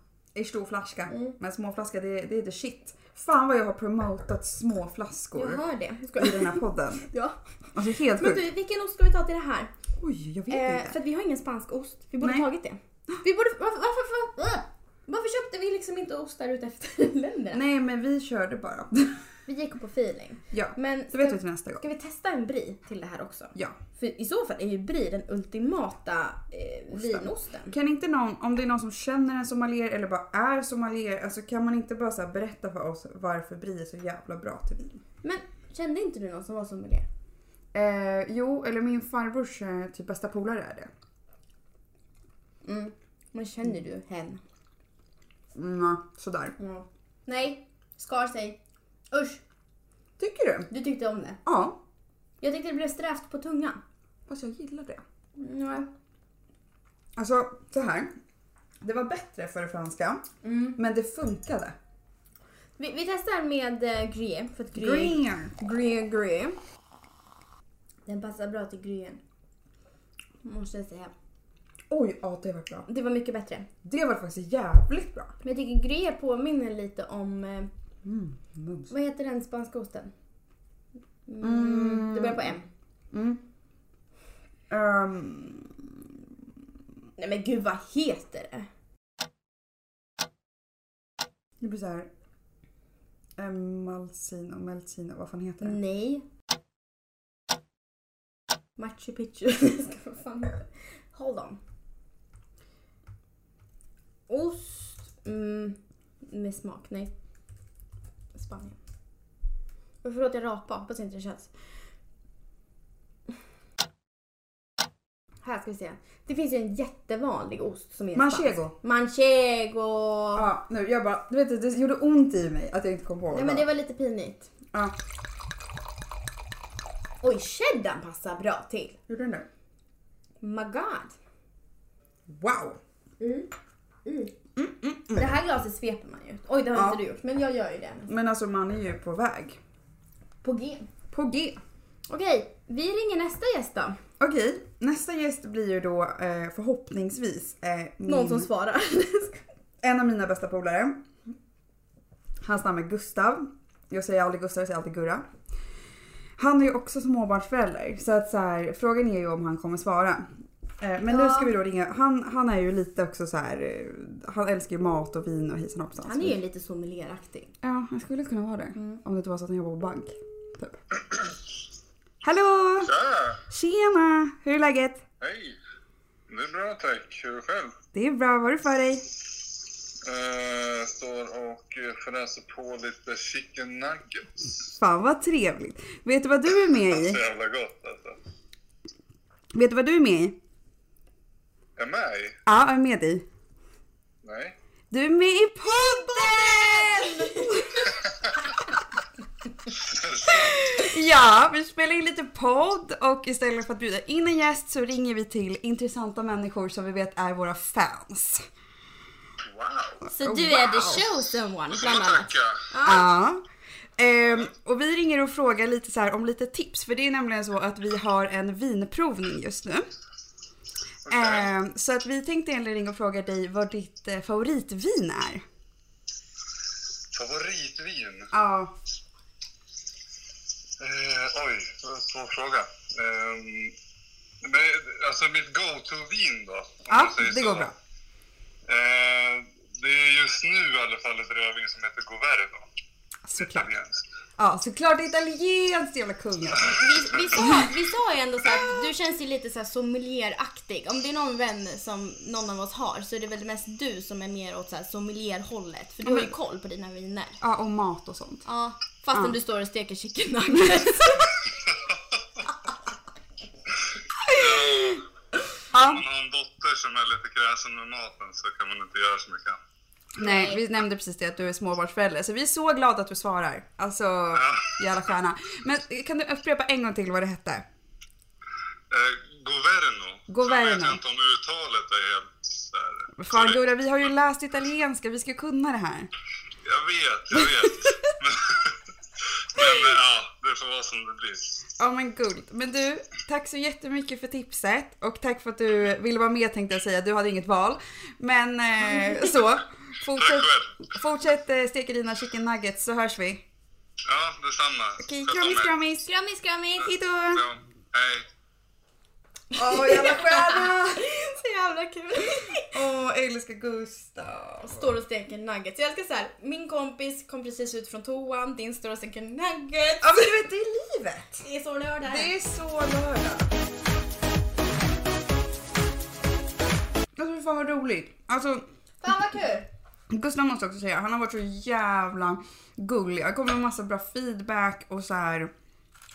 Speaker 2: I stor flaska.
Speaker 1: Mm.
Speaker 2: Men små flaska det, det är the shit. Fan vad jag har promotat små
Speaker 1: Jag
Speaker 2: flaskor
Speaker 1: hör det. Jag
Speaker 2: i
Speaker 1: skojar.
Speaker 2: den här podden.
Speaker 1: Ja.
Speaker 2: Alltså helt
Speaker 1: Men
Speaker 2: sjukt.
Speaker 1: du, vilken ost ska vi ta till det här?
Speaker 2: Oj, jag vet
Speaker 1: Eh, för
Speaker 2: inte.
Speaker 1: att vi har ingen spansk ost. Vi borde
Speaker 2: Nej.
Speaker 1: tagit det. Vi borde... Varför, varför, varför, varför köpte vi liksom inte ostar ut efter länderna?
Speaker 2: Nej men vi körde bara.
Speaker 1: Vi gick på feeling.
Speaker 2: ja,
Speaker 1: Men
Speaker 2: så vet
Speaker 1: ska-
Speaker 2: vi till nästa gång.
Speaker 1: Ska vi testa en brie till det här också?
Speaker 2: Ja.
Speaker 1: För i så fall är ju brie den ultimata eh, vinosten.
Speaker 2: Kan inte någon, om det är någon som känner en sommelier eller bara är sommelier, alltså kan man inte bara så här berätta för oss varför brie är så jävla bra till vin?
Speaker 1: Men kände inte du någon som var sommelier?
Speaker 2: Eh, jo, eller min farbrors eh, typ bästa polare är det.
Speaker 1: Mm. Men känner du hen?
Speaker 2: Mm, sådär.
Speaker 1: Ja. Nej, skar sig. Usch,
Speaker 2: Tycker du?
Speaker 1: du tyckte om det.
Speaker 2: Ja,
Speaker 1: Jag tyckte det blev strävt på tungan.
Speaker 2: fast jag gillar det.
Speaker 1: Nej.
Speaker 2: Alltså så här. Det var bättre för det franska,
Speaker 1: Mm.
Speaker 2: men det funkade.
Speaker 1: Vi, vi testar med eh, gruyère. För att gruyère,
Speaker 2: Green!
Speaker 1: gruyère, gruyère. Den passar bra till gruyère. Måste jag säga.
Speaker 2: Oj, ja det var bra.
Speaker 1: Det var mycket bättre.
Speaker 2: Det var faktiskt jävligt bra.
Speaker 1: Men jag tycker gruyère påminner lite om eh,
Speaker 2: Mm, mums.
Speaker 1: Vad heter den spanska osten? Mm, det börjar på M.
Speaker 2: Mm. Ehm,
Speaker 1: Nej men gud vad heter det?
Speaker 2: det blir så här. Malsino, Melcino, vad fan heter det?
Speaker 1: Nej. Machu Picchu. Jag ska vad fan heter det? Hold on. Ost mm, med smak. Nej. Spanien. Och Förlåt jag rapade. Hoppas inte det känns. Här ska vi se. Det finns ju en jättevanlig ost som är spansk.
Speaker 2: Manchego.
Speaker 1: Manchego!
Speaker 2: Ja, nu jag bara, du vet det gjorde ont i mig att jag inte kom på vad
Speaker 1: Nej men det var lite pinigt.
Speaker 2: Ja,
Speaker 1: Oj, cheddarn passar bra till.
Speaker 2: gjorde den det?
Speaker 1: My god.
Speaker 2: Wow!
Speaker 1: Det här glaset sveper man ju. Oj, det har
Speaker 2: Ja.
Speaker 1: inte du gjort, men jag gör ju det. nu.
Speaker 2: Men alltså man är ju på väg.
Speaker 1: På G.
Speaker 2: På G.
Speaker 1: Okej, vi ringer nästa gäst då.
Speaker 2: Okej, nästa gäst blir ju då eh, förhoppningsvis eh, min,
Speaker 1: Någon som svarar.
Speaker 2: en av mina bästa polare. Hans namn är Gustav. Jag säger aldrig Gustav, jag säger alltid Gurra. Han är ju också småbarnsförälder så att så här, frågan är ju om han kommer svara. Eh, Men nu
Speaker 1: Ja.
Speaker 2: ska vi då ringa, han, han är ju lite också så här. eh, han älskar ju mat och vin och hejsan hoppsan.
Speaker 1: Han är ju Mm. lite sommelieraktig.
Speaker 2: Ja, han skulle kunna vara det. Om det inte var så att han jobbar på bank. Typ. Hallå!
Speaker 4: Ja,
Speaker 2: Tjena! Hur är läget?
Speaker 4: hej! Det är bra tack. Hur är det själv?
Speaker 2: Det är bra, vad har du för dig?
Speaker 4: Eh, står och eh, fräser på lite chicken nuggets.
Speaker 2: Fan vad trevligt. Vet du vad du är med i?
Speaker 4: Så jävla gott alltså.
Speaker 2: Vet du vad du är med i?
Speaker 4: Är jag med i?
Speaker 2: Ja, jag är med i.
Speaker 4: Nej.
Speaker 2: Du är med i podden! Ja, vi spelar in lite podd och istället för att bjuda in en gäst så ringer vi till intressanta människor som vi vet är våra fans.
Speaker 4: Wow.
Speaker 1: Så du är the
Speaker 2: Wow.
Speaker 1: chosen one
Speaker 4: Så
Speaker 1: bland annat.
Speaker 4: tackar.
Speaker 2: Ja. Ehm, och vi ringer och frågar lite så här om lite tips för det är nämligen så att vi har en vinprovning just nu.
Speaker 4: Okej.
Speaker 2: Ehm, så att vi tänkte egentligen ringa och fråga dig vad ditt eh, favoritvin är.
Speaker 4: Favoritvin?
Speaker 2: Ja.
Speaker 4: Eh, oj, det var en svår fråga. Ehm, men, alltså mitt go-to-vin då? om
Speaker 2: Ja,
Speaker 4: jag säger
Speaker 2: det
Speaker 4: så.
Speaker 2: går bra.
Speaker 4: Eh, det är just nu i alla fall ett rödvin som heter Governo.
Speaker 2: Såklart.
Speaker 4: Italienskt.
Speaker 2: Ja, såklart italienskt jävla kung. alltså.
Speaker 1: Vi, vi, sa, vi sa ju ändå så här, du känns ju lite så här sommelieraktig. Om det är någon vän som någon av oss har så är det väl mest du som är mer åt så här sommelierhållet. För du har ju koll på dina viner.
Speaker 2: Ja, och mat och sånt.
Speaker 1: Ja, fastän
Speaker 2: Ja.
Speaker 1: du står och steker chicken nuggets.
Speaker 2: Ja.
Speaker 4: Om man har en dotter som är lite kräsen med maten så kan man inte göra så mycket.
Speaker 2: Nej, vi nämnde precis det att du är småbarnsförälder. Så vi är så glada att du svarar. Alltså, jävla stjärna. Men kan du upprepa en gång till vad det hette?
Speaker 4: Eh, Governo.
Speaker 2: Governo.
Speaker 4: Sen vet jag inte om uttalet är helt så här.
Speaker 2: Fan Gurra, vi har ju läst italienska, vi ska kunna det här.
Speaker 4: Jag vet, jag vet. men, men ja, det får vara som det blir.
Speaker 2: Ja men guld. Men du, tack så jättemycket för tipset och tack för att du ville vara med tänkte jag säga. Du hade inget val. Men eh, så. Fortsätt,
Speaker 4: själv.
Speaker 2: fortsätt eh, steka dina chicken nuggets så hörs vi.
Speaker 4: Ja, detsamma.
Speaker 2: Okej,
Speaker 4: Sköt om
Speaker 2: kramis
Speaker 4: er.
Speaker 2: kramis.
Speaker 1: Grammis, grammis!
Speaker 2: Hejdå!
Speaker 4: Ja, hej.
Speaker 2: Åh jävla stjärna!
Speaker 1: Så jävla kul!
Speaker 2: Åh älskar Gustav.
Speaker 1: Står och steker nuggets. Jag ska så här, min kompis kom precis ut från toan, din står och steker nuggets.
Speaker 2: Ja men du vet det är livet.
Speaker 1: Det är så lördag.
Speaker 2: Det är så lördag. Alltså fy fan vad roligt. Alltså
Speaker 1: Fan vad kul!
Speaker 2: Gustav måste jag också säga, han har varit så jävla gullig. Han kommer med massa bra feedback och så här.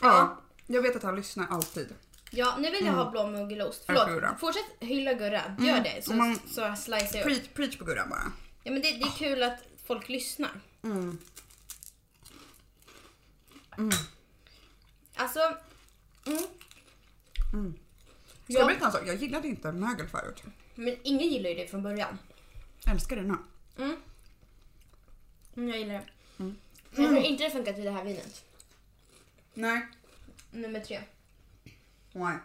Speaker 2: Ja, jag vet att han lyssnar alltid.
Speaker 1: Ja, nu vill jag
Speaker 2: Mm.
Speaker 1: ha blå mögelost.
Speaker 2: Jag tror det.
Speaker 1: Förlåt, fortsätt hylla Gurra. Gör det så,
Speaker 2: Mm. om man-
Speaker 1: så slicear jag upp.
Speaker 2: Preach, preach på Gurra bara.
Speaker 1: Ja, men det, det är kul att folk lyssnar.
Speaker 2: Mm.
Speaker 1: Alltså... Mm.
Speaker 2: Ska jag
Speaker 1: Ja,
Speaker 2: berätta en sak? Jag gillade inte mögel förut.
Speaker 1: men ingen gillar ju det från början.
Speaker 2: Älskar det nu.
Speaker 1: Mm, jag gillar det. Men
Speaker 2: Mm.
Speaker 1: jag tror inte det funkar till det här vinet.
Speaker 2: Nej.
Speaker 1: Nummer tre.
Speaker 2: Nej.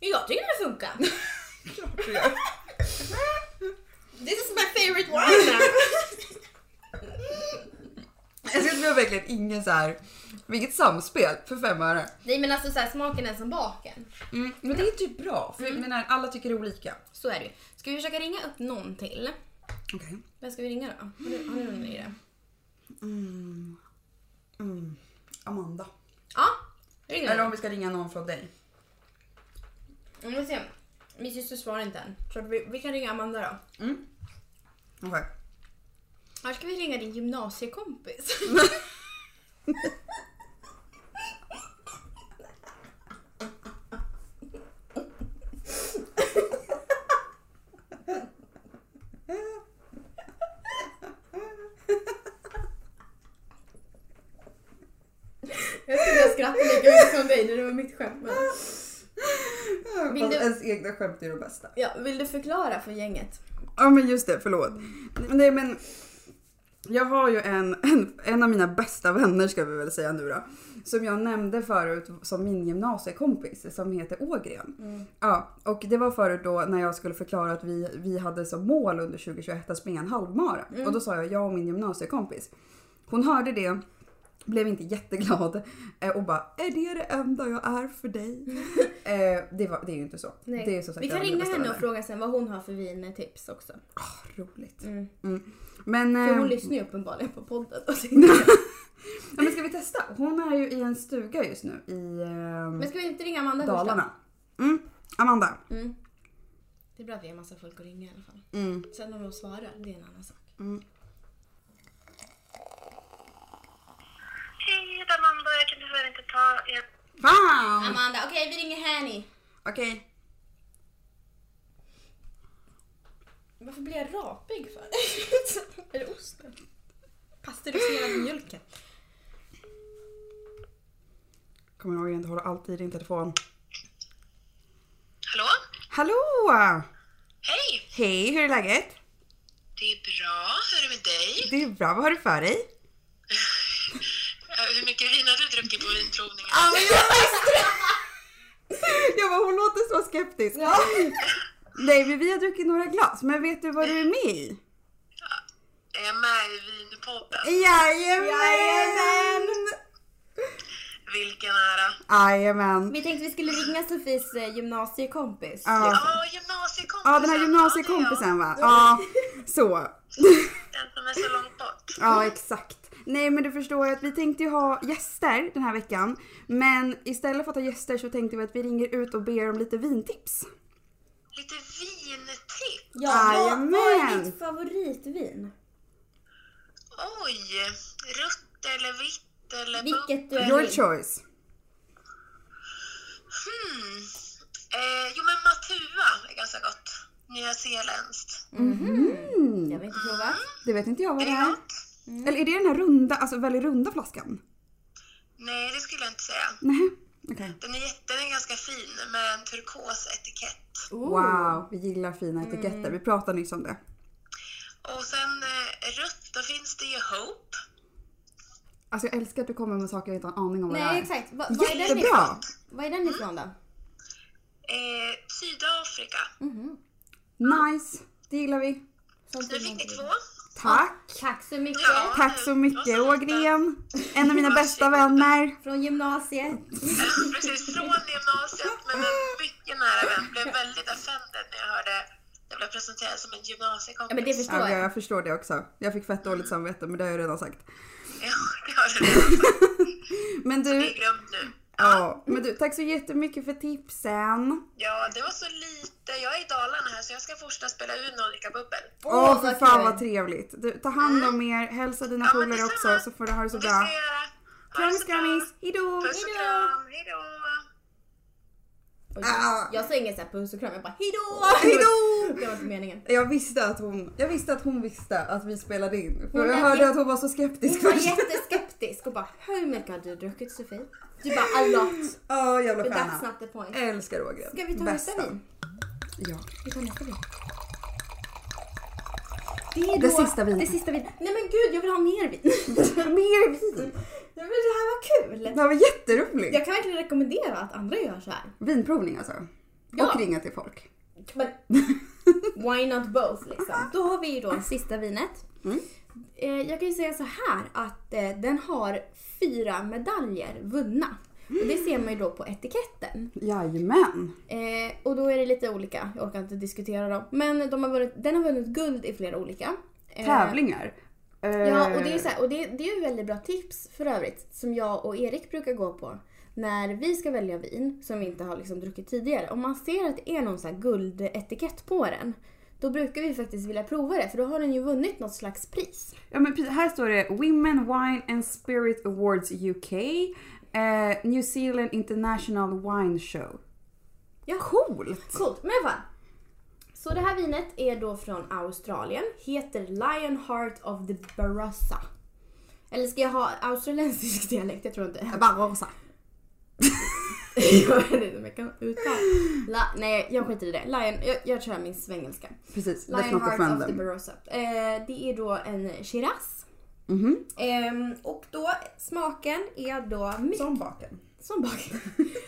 Speaker 1: Jag tycker det funkar.
Speaker 2: Klart du gör.
Speaker 1: This is my favorite wine now.
Speaker 2: Jag ser vi har verkligen ingen så här. Vilket samspel för fem öre.
Speaker 1: Nej men alltså så här, smaken är som baken.
Speaker 2: Mm. Men det är typ bra, för jag menar, alla tycker det är olika.
Speaker 1: Så är det ju. Ska vi försöka ringa upp någon till?
Speaker 2: Okej.
Speaker 1: Vem ska vi ringa då? Har du, har du någon idé?
Speaker 2: Amanda.
Speaker 1: Ja, ring
Speaker 2: Eller
Speaker 1: då.
Speaker 2: om vi ska ringa någon från dig.
Speaker 1: Om vi ser. Min syster svarar inte än. Så att vi, vi kan ringa Amanda då.
Speaker 2: Okej.
Speaker 1: Annars ska vi ringa din gymnasiekompis. Jag skulle jag skrattade lika mycket som dig när det var mitt skämt. Men... Vill
Speaker 2: Fast
Speaker 1: du-
Speaker 2: Ens egna skämt är det bästa.
Speaker 1: Ja, vill du förklara för gänget?
Speaker 2: Ja men just det, förlåt. Nej men jag har ju en, en, en av mina bästa vänner ska vi väl säga nu då. Som jag nämnde förut som min gymnasiekompis som heter Ågren.
Speaker 1: Mm.
Speaker 2: Ja, och det var förut då när jag skulle förklara att vi, vi hade som mål under 2021 att springa en halvmara.
Speaker 1: Mm.
Speaker 2: Och då sa jag jag och min gymnasiekompis. Hon hörde det, blev inte jätteglad eh, och bara är det det enda jag är för dig? eh, det, var, det är ju inte så. Det är som sagt
Speaker 1: Mm. vi kan
Speaker 2: en
Speaker 1: ringa
Speaker 2: av mina bästa
Speaker 1: henne och
Speaker 2: vänner.
Speaker 1: fråga sen vad hon har för vintips också.
Speaker 2: Ah, Roligt.
Speaker 1: Mm.
Speaker 2: Mm. Men,
Speaker 1: För
Speaker 2: eh,
Speaker 1: hon lyssnar ju uppenbarligen på podden.
Speaker 2: ja, men ska vi testa? Hon är ju i en stuga just nu i
Speaker 1: Men
Speaker 2: eh,
Speaker 1: ska vi inte ringa Amanda först då?
Speaker 2: Dalarna. Mm. Amanda.
Speaker 1: Mm. Det är bra att vi har massa folk att ringa i alla fall.
Speaker 2: Mm.
Speaker 1: Sen om de svarar, det är en annan sak.
Speaker 3: Hej, det är Amanda. Jag kan tyvärr inte ta er.
Speaker 2: Fan!
Speaker 1: Amanda, okej vi ringer Hanny.
Speaker 2: Okej.
Speaker 1: Varför blir jag rapig för? är det osten? Pasteuriserad mjölken.
Speaker 2: Kom ihåg att inte hålla allt i din telefon.
Speaker 3: Hallå?
Speaker 2: Hallå!
Speaker 3: Hej!
Speaker 2: Hej, hur är läget?
Speaker 3: Det är bra. Hur är det med dig?
Speaker 2: Det är bra, vad har du för dig?
Speaker 3: Eh, Hur mycket vin har du druckit på vinprovningen?
Speaker 2: Jag bara, hon låter så skeptisk. Nej, men vi har druckit några glas, men vet du vad du är med i?
Speaker 3: Är jag med i Vinpodden?
Speaker 2: Jajamän!
Speaker 3: Vilken ära.
Speaker 2: Jajamän.
Speaker 1: Vi tänkte vi skulle ringa Sofies eh, gymnasiekompis.
Speaker 2: Ja,
Speaker 3: Ja, gymnasiekompisen.
Speaker 2: Ja, den här
Speaker 3: Ja,
Speaker 2: gymnasiekompisen va? Ja, så.
Speaker 3: det är jag. Den som är så långt bort.
Speaker 2: Ja, exakt. Nej, men du förstår ju att vi tänkte ju ha gäster den här veckan. Men istället för att ha gäster så tänkte vi att vi ringer ut och ber om lite vintips.
Speaker 3: Lite vintipp.
Speaker 1: Ja, vad, vad är
Speaker 2: Jajamän.
Speaker 1: ditt favoritvin?
Speaker 3: Oj! Rött eller vitt eller...
Speaker 1: Vilket du
Speaker 2: Your
Speaker 1: är
Speaker 2: choice.
Speaker 3: Hmm. Eh, jo, men Matua är ganska gott. Nya Zeeländskt.
Speaker 1: Mhm.
Speaker 2: Mhm.
Speaker 1: Jag vill inte prova.
Speaker 2: Mm. Det vet inte jag vad det
Speaker 3: Är det
Speaker 2: är.
Speaker 3: gott?
Speaker 2: Eller är det den här runda, alltså väldigt runda flaskan?
Speaker 3: Nej, det skulle jag inte säga.
Speaker 2: Nej. Okej.
Speaker 3: Den är, jätte, den är ganska fin med en turkos etikett.
Speaker 2: Wow, vi gillar fina etiketter. Vi pratade nyss om det.
Speaker 3: Och sen eh, rött, då finns det ju Hope.
Speaker 2: Alltså jag älskar att du kommer med saker jag inte har en aning om vad det är.
Speaker 1: Nej, exakt. Va, vad, är den ifrån?
Speaker 2: Jättebra!
Speaker 1: vad är den ifrån då?
Speaker 3: Eh, Sydafrika.
Speaker 2: Nice, det gillar vi.
Speaker 1: Sånt
Speaker 3: Nu
Speaker 1: vill
Speaker 3: fick
Speaker 1: man
Speaker 3: ni
Speaker 1: inte
Speaker 3: två.
Speaker 1: veta.
Speaker 2: Tack!
Speaker 1: Tack så mycket.
Speaker 3: Ja.
Speaker 2: Tack så mycket
Speaker 3: Varsågoda.
Speaker 2: Ågren! En av mina bästa vänner.
Speaker 1: Från gymnasiet.
Speaker 3: Precis från gymnasiet, men en mycket nära vän. Blev väldigt offended när jag hörde jag blev presenterad som en gymnasiekompis.
Speaker 1: Ja, men det förstår
Speaker 2: Ja,
Speaker 1: jag.
Speaker 2: jag förstår det också. Jag fick fett dåligt samvete men det har jag redan sagt.
Speaker 3: Ja, det har du redan.
Speaker 2: Men
Speaker 3: Det är
Speaker 2: du,
Speaker 3: glömt nu.
Speaker 2: ja, men du, tack så jättemycket för tipsen.
Speaker 3: Ja, det var så lite. Jag är i Dalarna här, så jag ska fortsätta spela Uno och dricka bubbel.
Speaker 2: Åh för
Speaker 1: vad
Speaker 2: fan
Speaker 1: kul. Mm.
Speaker 2: vad trevligt. Du, ta hand om er, hälsa dina
Speaker 3: Ja, men
Speaker 2: polare också
Speaker 3: detsamma.
Speaker 2: så får du ha det så
Speaker 3: Det ska jag
Speaker 2: bra.
Speaker 3: göra. Ha det
Speaker 2: Kramis
Speaker 3: så bra.
Speaker 2: kramis, hejdå!
Speaker 3: Puss och kram. Hej då.
Speaker 1: Oj,
Speaker 2: Ah.
Speaker 1: Jag sa ingen så här puss och kram, jag bara hejdå!
Speaker 2: Hejdå!
Speaker 1: Det var inte meningen.
Speaker 2: Jag visste, att hon, jag visste att hon visste att vi spelade in. För
Speaker 1: Hon
Speaker 2: jag
Speaker 1: lät
Speaker 2: hörde
Speaker 1: jätte-
Speaker 2: att hon var så skeptisk
Speaker 1: Hon var
Speaker 2: först.
Speaker 1: jätteskeptisk och bara hur mycket har du druckit Sofie? Du bara a lot.
Speaker 2: Ja, jävla
Speaker 1: But that's
Speaker 2: stjärna.
Speaker 1: not the point.
Speaker 2: Älskar Ågren.
Speaker 1: Ska vi ta
Speaker 2: Bästa.
Speaker 1: nästa vin?
Speaker 2: Ja.
Speaker 1: Vi tar nästa vin. Det är
Speaker 2: Det sista vinet.
Speaker 1: Det sista vinet. Nej men gud jag vill ha mer vin.
Speaker 2: Mer vin!
Speaker 1: Nej, men det här var kul.
Speaker 2: Det här var jätteroligt.
Speaker 1: Jag kan verkligen rekommendera att andra gör så här.
Speaker 2: Vinprovning alltså.
Speaker 1: Ja.
Speaker 2: Och ringa till folk.
Speaker 1: Men why not both liksom. Då har vi ju då sista vinet. Eh, Jag kan ju säga så här att eh, den har fyra medaljer vunna. Och det ser man ju då på etiketten.
Speaker 2: Jajamän.
Speaker 1: Eh, och då är det lite olika, jag orkar inte diskutera dem. Men de har vunnit, den har vunnit guld i flera olika. Eh,
Speaker 2: Tävlingar. Eh,
Speaker 1: Ja, och det är ju så här, och det, det är ju väldigt bra tips för övrigt som jag och Erik brukar gå på. När vi ska välja vin som vi inte har liksom druckit tidigare. Om man ser att det är någon så här guldetikett på den. Då brukar vi faktiskt vilja prova det för då har den ju vunnit något slags pris.
Speaker 2: ja, men precis, här står det Women Wine and Spirit Awards UK. eh, New Zealand International Wine Show.
Speaker 1: Ja.
Speaker 2: Coolt!
Speaker 1: Coolt, men i alla fall. Så det här vinet är då från Australien. Heter Lion Heart of the Barossa. Eller ska jag ha australiensisk dialekt? Jag tror inte.
Speaker 2: Bara rosa.
Speaker 1: jag vet inte om jag kan uttala. La- Nej, jag skiter i det. Lion, jag, jag kör min svengelska.
Speaker 2: Precis, let's
Speaker 1: Lion
Speaker 2: not
Speaker 1: Heart
Speaker 2: offend
Speaker 1: of the
Speaker 2: them.
Speaker 1: Barossa. Eh, det är då en Shiraz. Ehm, och då smaken är då mycket, som,
Speaker 2: Som baken.
Speaker 1: bak.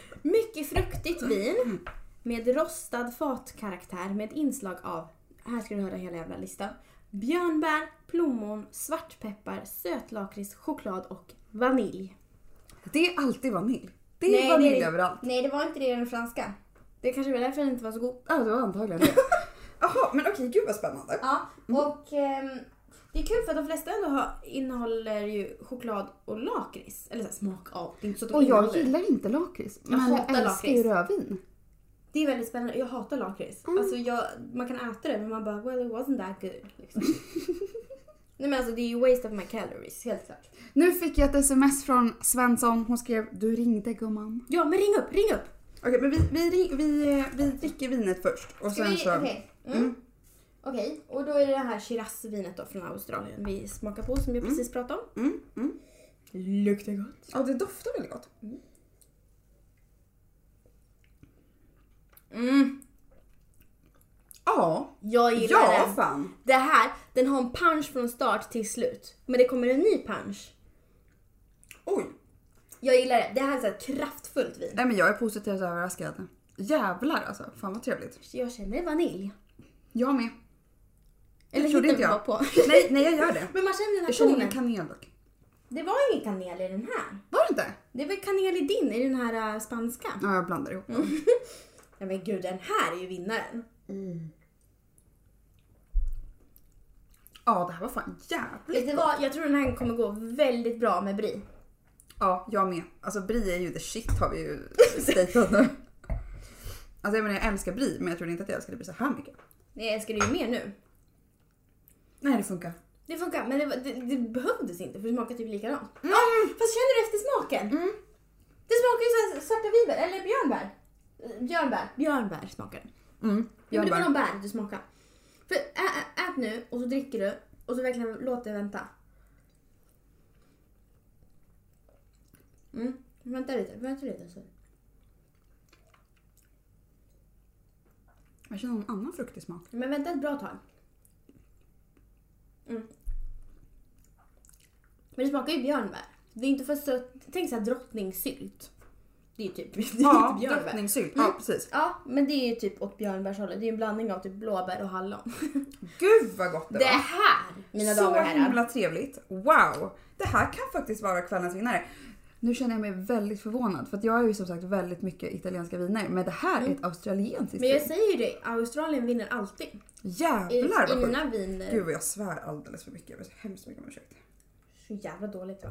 Speaker 1: mycket fruktigt vin med rostad fatkaraktär med ett inslag av, här ska du höra hela jävla listan, björnbär, plommon, svartpeppar, sötlakrits, choklad och vanilj.
Speaker 2: Det är alltid vanilj. Det är vanilj överallt.
Speaker 1: Nej, det var inte det i den franska. Det kanske var därför den inte var så god.
Speaker 2: Ja, det var antagligen det. Jaha, men okej, gud vad spännande.
Speaker 1: Ja, och ehm, det är kul för att de flesta ändå har, innehåller ju choklad och lakrits. Eller så här, smak av. Det är inte så att de
Speaker 2: Och jag
Speaker 1: innehåller.
Speaker 2: gillar inte lakrits,
Speaker 1: Jag
Speaker 2: men jag
Speaker 1: hatar
Speaker 2: älskar ju
Speaker 1: lakrits.
Speaker 2: rödvin.
Speaker 1: Det är väldigt spännande. Jag hatar lakrits. Alltså jag, man kan äta det men man bara well it wasn't that good. Liksom. Nej men alltså det är ju waste of my calories helt klart.
Speaker 2: Nu fick jag ett sms från Svensson. Hon skrev du ringde gumman.
Speaker 1: Ja men ring upp, ring upp!
Speaker 2: Okej, men vi, vi, ring- vi, eh, vi dricker vinet först och
Speaker 1: Ska
Speaker 2: sen
Speaker 1: vi,
Speaker 2: så...
Speaker 1: okej. Mm. Okej, och då är det det här Shiraz-vinet då från Australien vi smakar på som vi precis pratade om.
Speaker 2: Mm, mm.
Speaker 1: Luktar gott.
Speaker 2: Ja, det doftar väldigt gott. Mm.
Speaker 1: Mm,
Speaker 2: Ja.
Speaker 1: jag gillar
Speaker 2: Ja,
Speaker 1: den.
Speaker 2: fan.
Speaker 1: Det här, den har en punch från start till slut. Men det kommer en ny punch.
Speaker 2: Oj.
Speaker 1: Jag gillar det. Det här är så här kraftfullt vin.
Speaker 2: Nej men jag är positivt överraskad. Jävlar alltså. Fan vad trevligt.
Speaker 1: Jag känner vanilj.
Speaker 2: Jag med.
Speaker 1: Eller
Speaker 2: trodde
Speaker 1: hittar
Speaker 2: inte
Speaker 1: jag
Speaker 2: jag.
Speaker 1: på.
Speaker 2: Nej, nej jag gör det.
Speaker 1: Men man känner den här
Speaker 2: Jag känner ingen
Speaker 1: tonen.
Speaker 2: kanel dock.
Speaker 1: Det var ingen kanel i den här.
Speaker 2: Var det inte?
Speaker 1: Det är väl kanel i din, i den här äh, spanska.
Speaker 2: Ja, jag blandar ihop.
Speaker 1: Nej men gud, den här är ju vinnaren.
Speaker 2: Ja, det här var fan jävligt.
Speaker 1: Vet du vad? Jag tror den här kommer gå väldigt bra med Brie.
Speaker 2: Ja, jag med. Alltså Brie är ju the shit har vi ju statat nu. Alltså jag menar jag älskar Brie men jag trodde inte att jag älskade Brie så här mycket.
Speaker 1: Nej, jag skulle ju mer nu.
Speaker 2: Nej det funkar.
Speaker 1: Det funkar, men det, var- det, det behövdes inte för det smakar typ likadant. Ja, fast känner du efter smaken? Det smakar ju så här svarta vinbär, eller björnbär. Eh, Björnbär. Björnbär smakar det.
Speaker 2: Mm,
Speaker 1: Ja, men det var
Speaker 2: bär.
Speaker 1: någon bär du smakade. För ä, ä, ät nu och så dricker du och så verkligen låt det vänta. Mm. Vänta lite, vänta lite. Så.
Speaker 2: Jag känner någon annan fruktig smak.
Speaker 1: Men vänta ett bra tag.
Speaker 2: Mm.
Speaker 1: Men det smakar ju björnbär. Det är inte för sött. Tänk såhär drottningsylt. Det är ju typ, det är
Speaker 2: Ja,
Speaker 1: inte björnbär. Mm.
Speaker 2: drottningsylt. Ja, precis.
Speaker 1: Ja, men det är ju typ åt björnbärshållet. Det är ju en blandning av typ blåbär och hallon.
Speaker 2: Gud vad gott det,
Speaker 1: Det
Speaker 2: var.
Speaker 1: här, mina
Speaker 2: så
Speaker 1: damer och herrar.
Speaker 2: himla trevligt. Wow! Det här kan faktiskt vara kvällens vinnare. Nu känner jag mig väldigt förvånad för att jag är ju som sagt väldigt mycket italienska viner men det här är ett australiensiskt
Speaker 1: Mm. Men jag
Speaker 2: vin.
Speaker 1: säger ju det, Australien vinner alltid. I,
Speaker 2: Jävlar
Speaker 1: i
Speaker 2: vad sjukt.
Speaker 1: mina viner.
Speaker 2: Gud vad jag svär alldeles för mycket. Jag ber så hemskt mycket om ursäkt.
Speaker 1: Så jävla dåligt va?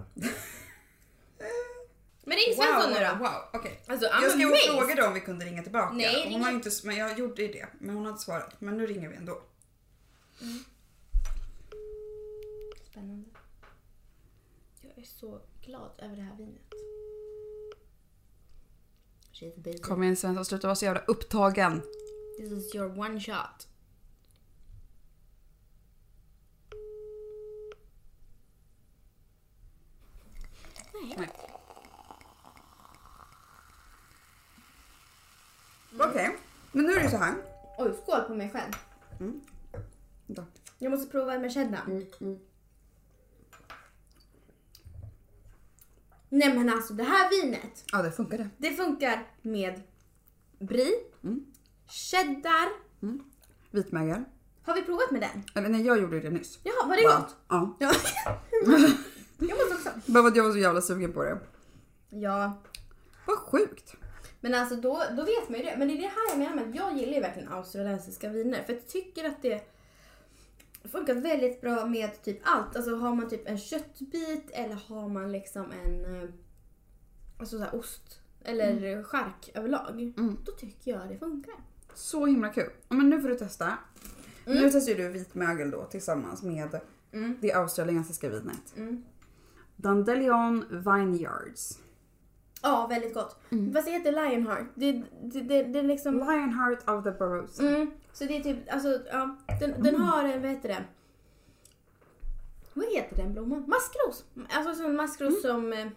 Speaker 1: Men ring Svensson nu då.
Speaker 2: Wow, okej.
Speaker 1: Alltså,
Speaker 2: Jag
Speaker 1: I'm
Speaker 2: skrev och
Speaker 1: amazed.
Speaker 2: frågade om vi kunde ringa tillbaka.
Speaker 1: Nej,
Speaker 2: Nej,
Speaker 1: ring
Speaker 2: hon har inte, men jag gjorde ju det, men hon har inte svarat. Men nu ringer vi ändå.
Speaker 1: Spännande. Jag är så glad över det här vinet. She's busy.
Speaker 2: Kom igen Svensson, sluta vara så jävla upptagen.
Speaker 1: This is your one shot.
Speaker 2: Nej. Mm. Okej, men nu är det så här.
Speaker 1: Oj, skål på mig själv.
Speaker 2: Då.
Speaker 1: Jag måste prova en merchedna. Nej men alltså det här vinet.
Speaker 2: Ja, det funkade.
Speaker 1: Det funkar med brie, cheddar.
Speaker 2: Vitmögel.
Speaker 1: Har vi provat med den?
Speaker 2: Eller nej, jag gjorde det nyss.
Speaker 1: Jaha, var det
Speaker 2: Bara-
Speaker 1: gott?
Speaker 2: Ja.
Speaker 1: Ja. jag måste också.
Speaker 2: Bara för att jag var så jävla sugen på det.
Speaker 1: Ja,
Speaker 2: Vad sjukt.
Speaker 1: men alltså då, då vet man ju det. Men det är det här jag menar med att jag gillar ju verkligen australiensiska viner. För jag tycker att det funkar väldigt bra med typ allt. Alltså har man typ en köttbit eller har man liksom en eh, alltså så här ost eller chark överlag. Då tycker jag det funkar.
Speaker 2: Så himla kul. Ja, Men nu får du testa.
Speaker 1: Mm.
Speaker 2: Nu testar ju du vitmögel då tillsammans med det australiensiska vinet.
Speaker 1: Mm.
Speaker 2: Dandelion Vineyards.
Speaker 1: Ja, väldigt gott. Fast det heter Lionheart. Det, det, det, det är liksom...
Speaker 2: Lionheart of the Burrows.
Speaker 1: Mm, så det är typ, alltså ja. Den,
Speaker 2: Mm.
Speaker 1: den har en, vad heter det? Vad heter den blomman? Maskros! Alltså som en
Speaker 2: Mm.
Speaker 1: maskros som eh,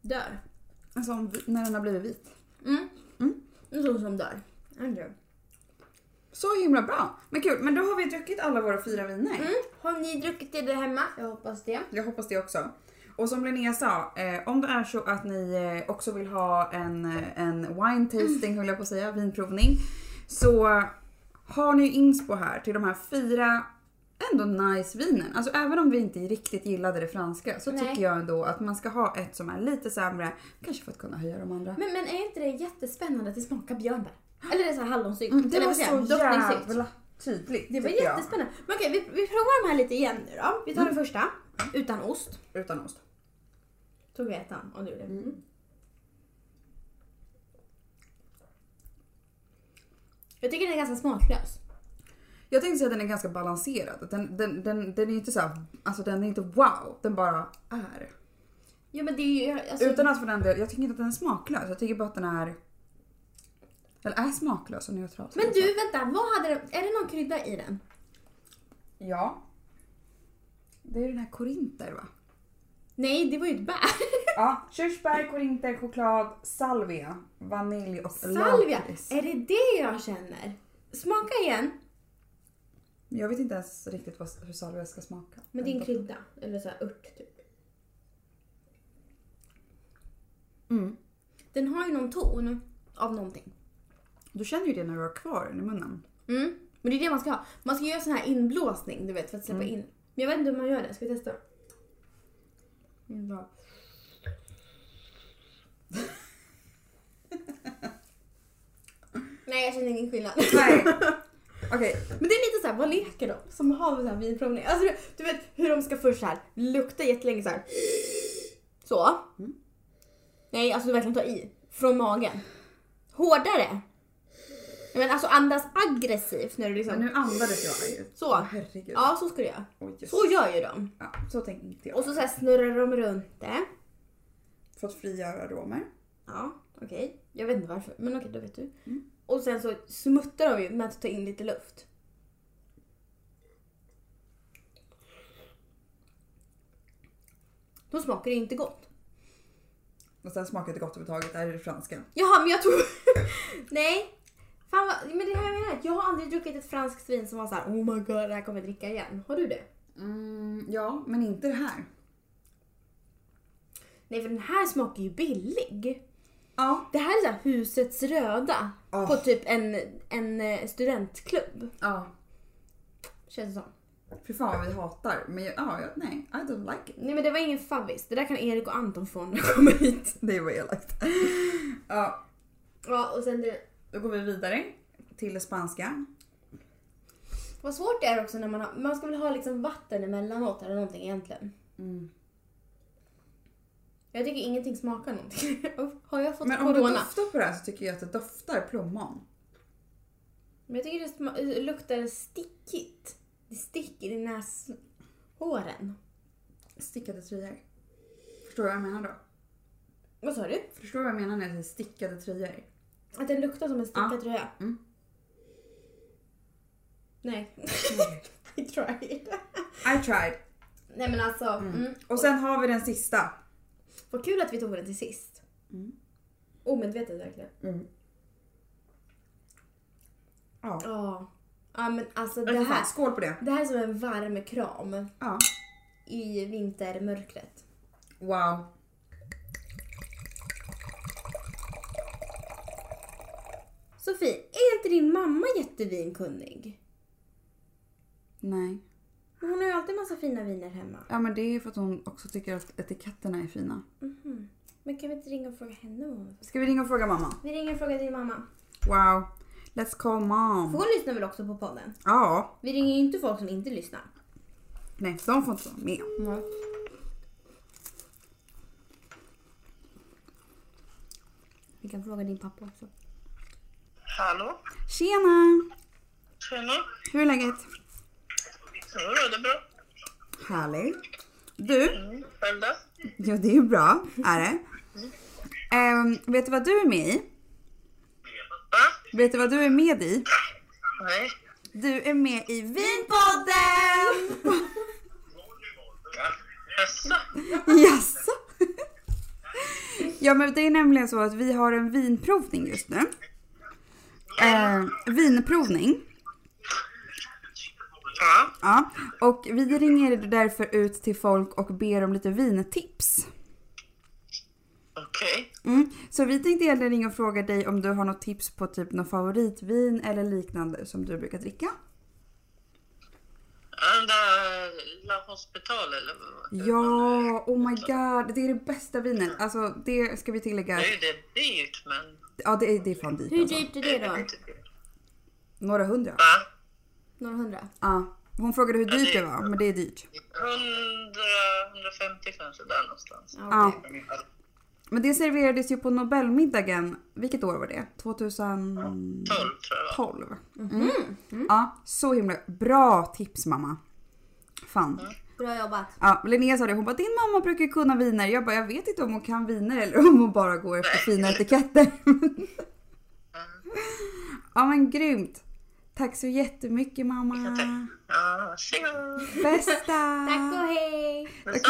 Speaker 1: dör.
Speaker 2: En sån Alltså, vi- när den har blivit vit.
Speaker 1: Mm.
Speaker 2: Mm.
Speaker 1: En sån som dör. Andrew.
Speaker 2: Så himla bra. Men kul, men då har vi druckit alla våra fyra viner.
Speaker 1: Mm. Har ni druckit det där hemma? Jag hoppas det.
Speaker 2: Jag hoppas det också. Och som Linnea sa, eh, om det är så att ni eh, också vill ha en, eh, en wine tasting, höll jag på att säga, vinprovning. Så har ni ju inspo här till de här fyra ändå nice vinen. Alltså även om vi inte riktigt gillade det franska så
Speaker 1: Nej.
Speaker 2: tycker jag ändå att man ska ha ett som är lite sämre, kanske för att kunna höja de andra.
Speaker 1: Men, men är inte det jättespännande att det smakar björnbär? Eller det är så här hallonsylt.
Speaker 2: Mm, det
Speaker 1: Eller
Speaker 2: var
Speaker 1: vad säger jag?
Speaker 2: så
Speaker 1: Drottningsylt.
Speaker 2: jävla tydligt
Speaker 1: Det var
Speaker 2: tycker jag. Mm.
Speaker 1: jättespännande. Men okej, vi, vi provar de här lite igen nu då. Vi tar den första. Utan ost.
Speaker 2: Utan ost.
Speaker 1: Tog jag ettan och du gjorde. Mm. Jag tycker den är ganska smaklös.
Speaker 2: Jag tänkte säga att den är ganska balanserad. Den, den, den, den är inte så här, alltså den är inte wow, den bara är.
Speaker 1: Ja men det är ju... Alltså,
Speaker 2: Utan att för den del, jag tycker inte att den är smaklös. Jag tycker bara att den är... Eller är smaklös och neutral. som
Speaker 1: Men
Speaker 2: jag sa.
Speaker 1: du vänta, vad hade den, är det någon krydda i den?
Speaker 2: Ja. Det är den här korinter va?
Speaker 1: Nej, det var ju ett bär.
Speaker 2: Ja, körsbär, korinter, choklad, salvia, vanilj och
Speaker 1: Salvia!
Speaker 2: lakrits.
Speaker 1: Är det det jag känner? Smaka igen.
Speaker 2: Jag vet inte ens riktigt vad, hur salvia ska smaka.
Speaker 1: Men det är en krydda. Eller så här ört typ.
Speaker 2: Mm.
Speaker 1: Den har ju någon ton av någonting.
Speaker 2: Du känner ju det när du har kvar den i munnen.
Speaker 1: Mm. Men det är det man ska ha. Man ska göra sån här inblåsning, du vet, för att släppa in. Men jag vet inte hur man gör det. Ska vi testa? Mm, bra. Nej, jag känner ingen skillnad.
Speaker 2: Nej. Okej,
Speaker 1: Men det är lite så här, vad leker de som har så här vinprovning? Alltså du, du vet hur de ska först så här lukta jättelänge så här. Så. Nej, alltså du verkligen ta i. Från magen. Hårdare. Nej, Men alltså andas aggressivt när du liksom...
Speaker 2: men nu andades jag ju.
Speaker 1: Så.
Speaker 2: Åh, Herregud.
Speaker 1: Ja, så ska du göra.
Speaker 2: Oj, just.
Speaker 1: Så gör ju de.
Speaker 2: Ja, så tänkte inte jag.
Speaker 1: Och så, så här snurrar de runt det.
Speaker 2: Fått frigöra aromer.
Speaker 1: Ja, okej. Jag vet inte varför, men okej, då vet du. Och sen så smuttar de ju med att ta in lite luft. Då smakar det inte gott.
Speaker 2: Och sen smakade det gott överhuvudtaget. Det här är det franska.
Speaker 1: Jaha, men jag tror... Nej. Fan vad... Men det här jag menar, jag har aldrig druckit ett franskt vin som var så här: oh my god, det här kommer jag dricka igen. Har du det?
Speaker 2: ja, men inte det här.
Speaker 1: Nej, för den här smakar ju billig.
Speaker 2: Ja.
Speaker 1: Det här är så här husets röda
Speaker 2: Ah.
Speaker 1: på typ en, en eh, studentklubb.
Speaker 2: Ja.
Speaker 1: Känns det som.
Speaker 2: Fy fan vad vi hatar. Men jag, ja, jag, nej. I don't like it.
Speaker 1: Nej men det var ingen favvis. Det där kan Erik och Anton få när de kommer hit.
Speaker 2: Det var elakt. Ja,
Speaker 1: Ja och sen det...
Speaker 2: då går vi vidare till det spanska.
Speaker 1: Vad svårt det är också när man har... Man ska väl ha liksom vatten emellanåt eller någonting egentligen.
Speaker 2: Mm.
Speaker 1: Jag tycker ingenting smakar någonting. har jag fått
Speaker 2: Men om du
Speaker 1: corona?
Speaker 2: doftar på det här så tycker jag att det doftar plommon.
Speaker 1: Men jag tycker det sma- eh, luktar stickigt. Det sticker i näshåren.
Speaker 2: Stickade tröjor. Förstår du vad jag menar då?
Speaker 1: Vad sa du?
Speaker 2: Förstår du vad jag menar när jag säger stickade tröjor?
Speaker 1: Att den luktar som en stickad
Speaker 2: Ja.
Speaker 1: tröja?
Speaker 2: Mm.
Speaker 1: Nej. I tried.
Speaker 2: I tried.
Speaker 1: Nej men alltså. Mm.
Speaker 2: Och sen har vi den sista.
Speaker 1: Vad kul att vi tog den till sist.
Speaker 2: Mm.
Speaker 1: Omedvetet verkligen.
Speaker 2: Ja.
Speaker 1: Ja. Ja men alltså det
Speaker 2: Det
Speaker 1: här,
Speaker 2: Skål på det.
Speaker 1: det här är som en varm kram
Speaker 2: Ja.
Speaker 1: i vintermörkret.
Speaker 2: Wow.
Speaker 1: Sofie, är inte din mamma jättevinkunnig?
Speaker 2: Nej.
Speaker 1: Men Hon har ju alltid massa fina viner hemma.
Speaker 2: Ja men det är för att hon också tycker att etiketterna är fina.
Speaker 1: Men kan vi inte ringa och fråga henne vad hon
Speaker 2: Ska vi ringa och fråga mamma?
Speaker 1: Vi ringer och frågar din mamma.
Speaker 2: Wow. Let's call
Speaker 1: För
Speaker 2: mom.
Speaker 1: hon lyssnar väl också på podden?
Speaker 2: Ja.
Speaker 1: Vi ringer ju inte folk som inte lyssnar.
Speaker 2: Nej, de får inte vara med.
Speaker 1: Vi kan fråga din pappa också.
Speaker 3: Hallå?
Speaker 2: Tjena!
Speaker 3: Tjena.
Speaker 2: Hur är läget?
Speaker 3: Jo, det är bra.
Speaker 2: Härligt. Du?
Speaker 3: Mm. Själv då?
Speaker 2: Ja, det är ju bra. Är det? Ehm, vet du vad du är med i?
Speaker 3: Va?
Speaker 2: Vet du vad du är med i?
Speaker 3: Nej.
Speaker 2: Du är med i Vinpodden!
Speaker 3: Jaså?
Speaker 2: Jaså? Ja men det är nämligen så att vi har en vinprovning just nu. Eh, vinprovning.
Speaker 3: Ja.
Speaker 2: Ja. Och vi ringer därför ut till folk och ber om lite vintips.
Speaker 3: Okej.
Speaker 2: Mm. Så vi tänkte egentligen ringa och fråga dig om du har något tips på typ något favoritvin eller liknande som du brukar dricka?
Speaker 3: Den där La Hospital eller vad-
Speaker 2: Ja, oh my god. Det är det bästa vinet. Alltså det ska vi tillägga.
Speaker 3: Det är ju det dyrt men...
Speaker 2: Ja det är, det är fan dyrt
Speaker 1: Hur
Speaker 2: alltså.
Speaker 1: dyrt är det då?
Speaker 2: Några hundra.
Speaker 3: Va?
Speaker 1: Några hundra?
Speaker 2: Ja. Hon frågade hur dyrt det var, men det är dyrt.
Speaker 3: 100, 150 kanske där någonstans.
Speaker 1: Ja, okej.
Speaker 2: Men det serverades ju på Nobelmiddagen, vilket år var det? 2012?
Speaker 3: 12 tror jag det var.
Speaker 2: Mm. Ja, så himla bra tips mamma. Fan.
Speaker 1: Bra jobbat.
Speaker 2: Ja, Linnea sa det, hon bara din mamma brukar kunna viner. Jag bara jag vet inte om hon kan viner eller om hon bara går
Speaker 1: Mm.
Speaker 2: efter fina etiketter. ja men grymt. Tack så jättemycket mamma.
Speaker 3: Ja, varsågod.
Speaker 2: Bästa!
Speaker 1: Tack och hej!
Speaker 2: Okej,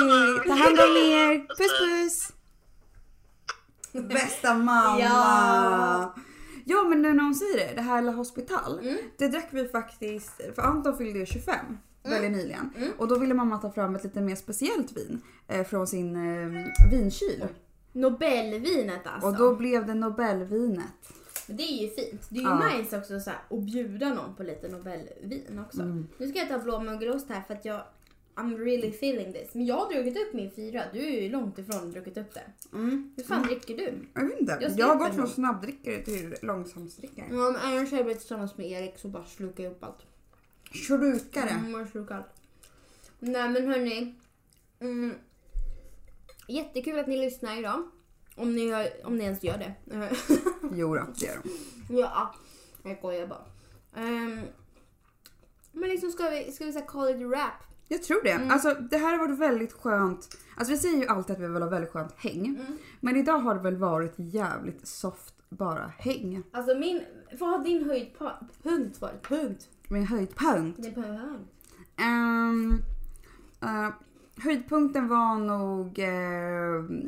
Speaker 2: ta hand om er. Puss puss! Bästa mamma!
Speaker 1: Ja.
Speaker 2: Ja. Mm. men nu när hon säger det, det här La Hospital. Det drack vi faktiskt, för Anton fyllde ju 25 väldigt nyligen. Och då ville mamma ta fram ett lite mer speciellt vin eh, från sin eh, vinkyl.
Speaker 1: Nobelvinet alltså.
Speaker 2: Och då blev det Nobelvinet.
Speaker 1: Men Det är ju fint. Det är ju
Speaker 2: Ja.
Speaker 1: nice också så här, att bjuda någon på lite Nobelvin också. Nu ska jag ta blåmögelost här för att jag I'm really feeling this. Men jag har druckit upp min fyra. Du är ju långt ifrån druckit upp det. Hur fan dricker du?
Speaker 2: Jag vet inte,
Speaker 1: Jag
Speaker 2: jag,
Speaker 1: skrev
Speaker 2: har
Speaker 1: på
Speaker 2: gått
Speaker 1: den.
Speaker 2: från snabbdrickare till långsamsdrickare.
Speaker 1: Ja, men annars är jag tillsammans med Erik så bara slukar jag upp allt.
Speaker 2: Slukare.
Speaker 1: Mm, jag slukar allt. Nej men hörni. Mm, jättekul att ni lyssnar idag. Om ni, gör, om ni ens gör det.
Speaker 2: Jo då, det gör de.
Speaker 1: Ja, jag skojar bara. Ehm, men liksom ska vi, ska vi säga call it a wrap?
Speaker 2: Jag tror det.
Speaker 1: Mm.
Speaker 2: Alltså det här har varit väldigt skönt. Alltså vi säger ju alltid att vi vill ha väldigt skönt häng. Men idag har det väl varit jävligt soft bara häng.
Speaker 1: Alltså min, vad har din höjdpunkt varit? Punkt?
Speaker 2: Min höjdpunkt.
Speaker 1: Det behöver
Speaker 2: Ehm, eh, höjdpunkten var nog eh,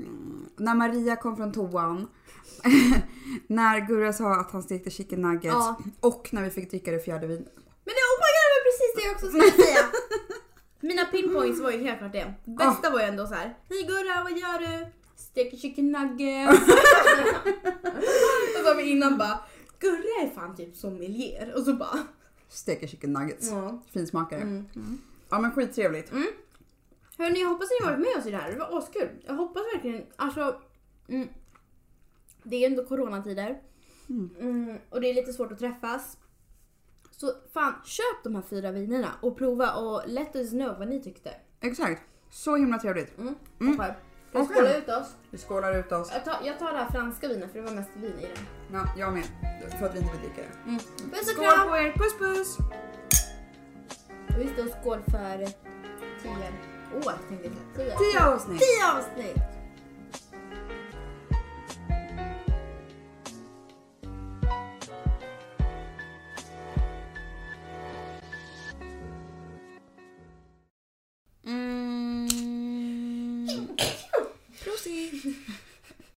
Speaker 2: när Maria kom från toan. när Gurra sa att han stekte chicken nuggets.
Speaker 1: Ja.
Speaker 2: Och när vi fick dricka det fjärde vinet.
Speaker 1: Men det, oh my god, det var precis det jag också skulle säga. Mina pinpoints var ju helt klart det. Bästa var ju ändå så här. Hej Gurra, vad gör du? Steker chicken nuggets. och så har vi innan bara. Gurra är fan typ sommelier. Och så bara.
Speaker 2: Steker chicken nuggets.
Speaker 1: Ja. Mm,
Speaker 2: Finsmakare. Ja men skittrevligt.
Speaker 1: Hörni, jag hoppas ni har varit med oss i det här. Det var askul. Jag hoppas verkligen, alltså. Mm, det är ju ändå coronatider. Mm, och det är lite svårt att träffas. Så fan, köp de här fyra vinerna och prova och let us know vad ni tyckte.
Speaker 2: Exakt. Så himla trevligt.
Speaker 1: Mm.
Speaker 2: Mm.
Speaker 1: Hoppar. Ska vi
Speaker 2: Okej.
Speaker 1: skåla ut oss?
Speaker 2: Vi skålar ut oss.
Speaker 1: Jag tar, jag tar det här franska vinet för det var mest vin i det.
Speaker 2: Ja, jag med. För att vi inte vill dricka det.
Speaker 1: Puss och
Speaker 2: Skål
Speaker 1: kram!
Speaker 2: Mm. på er! Puss puss!
Speaker 1: Och just det, skål för tio år tänkte jag säga. Tio,
Speaker 2: Tio avsnitt!
Speaker 1: tio avsnitt!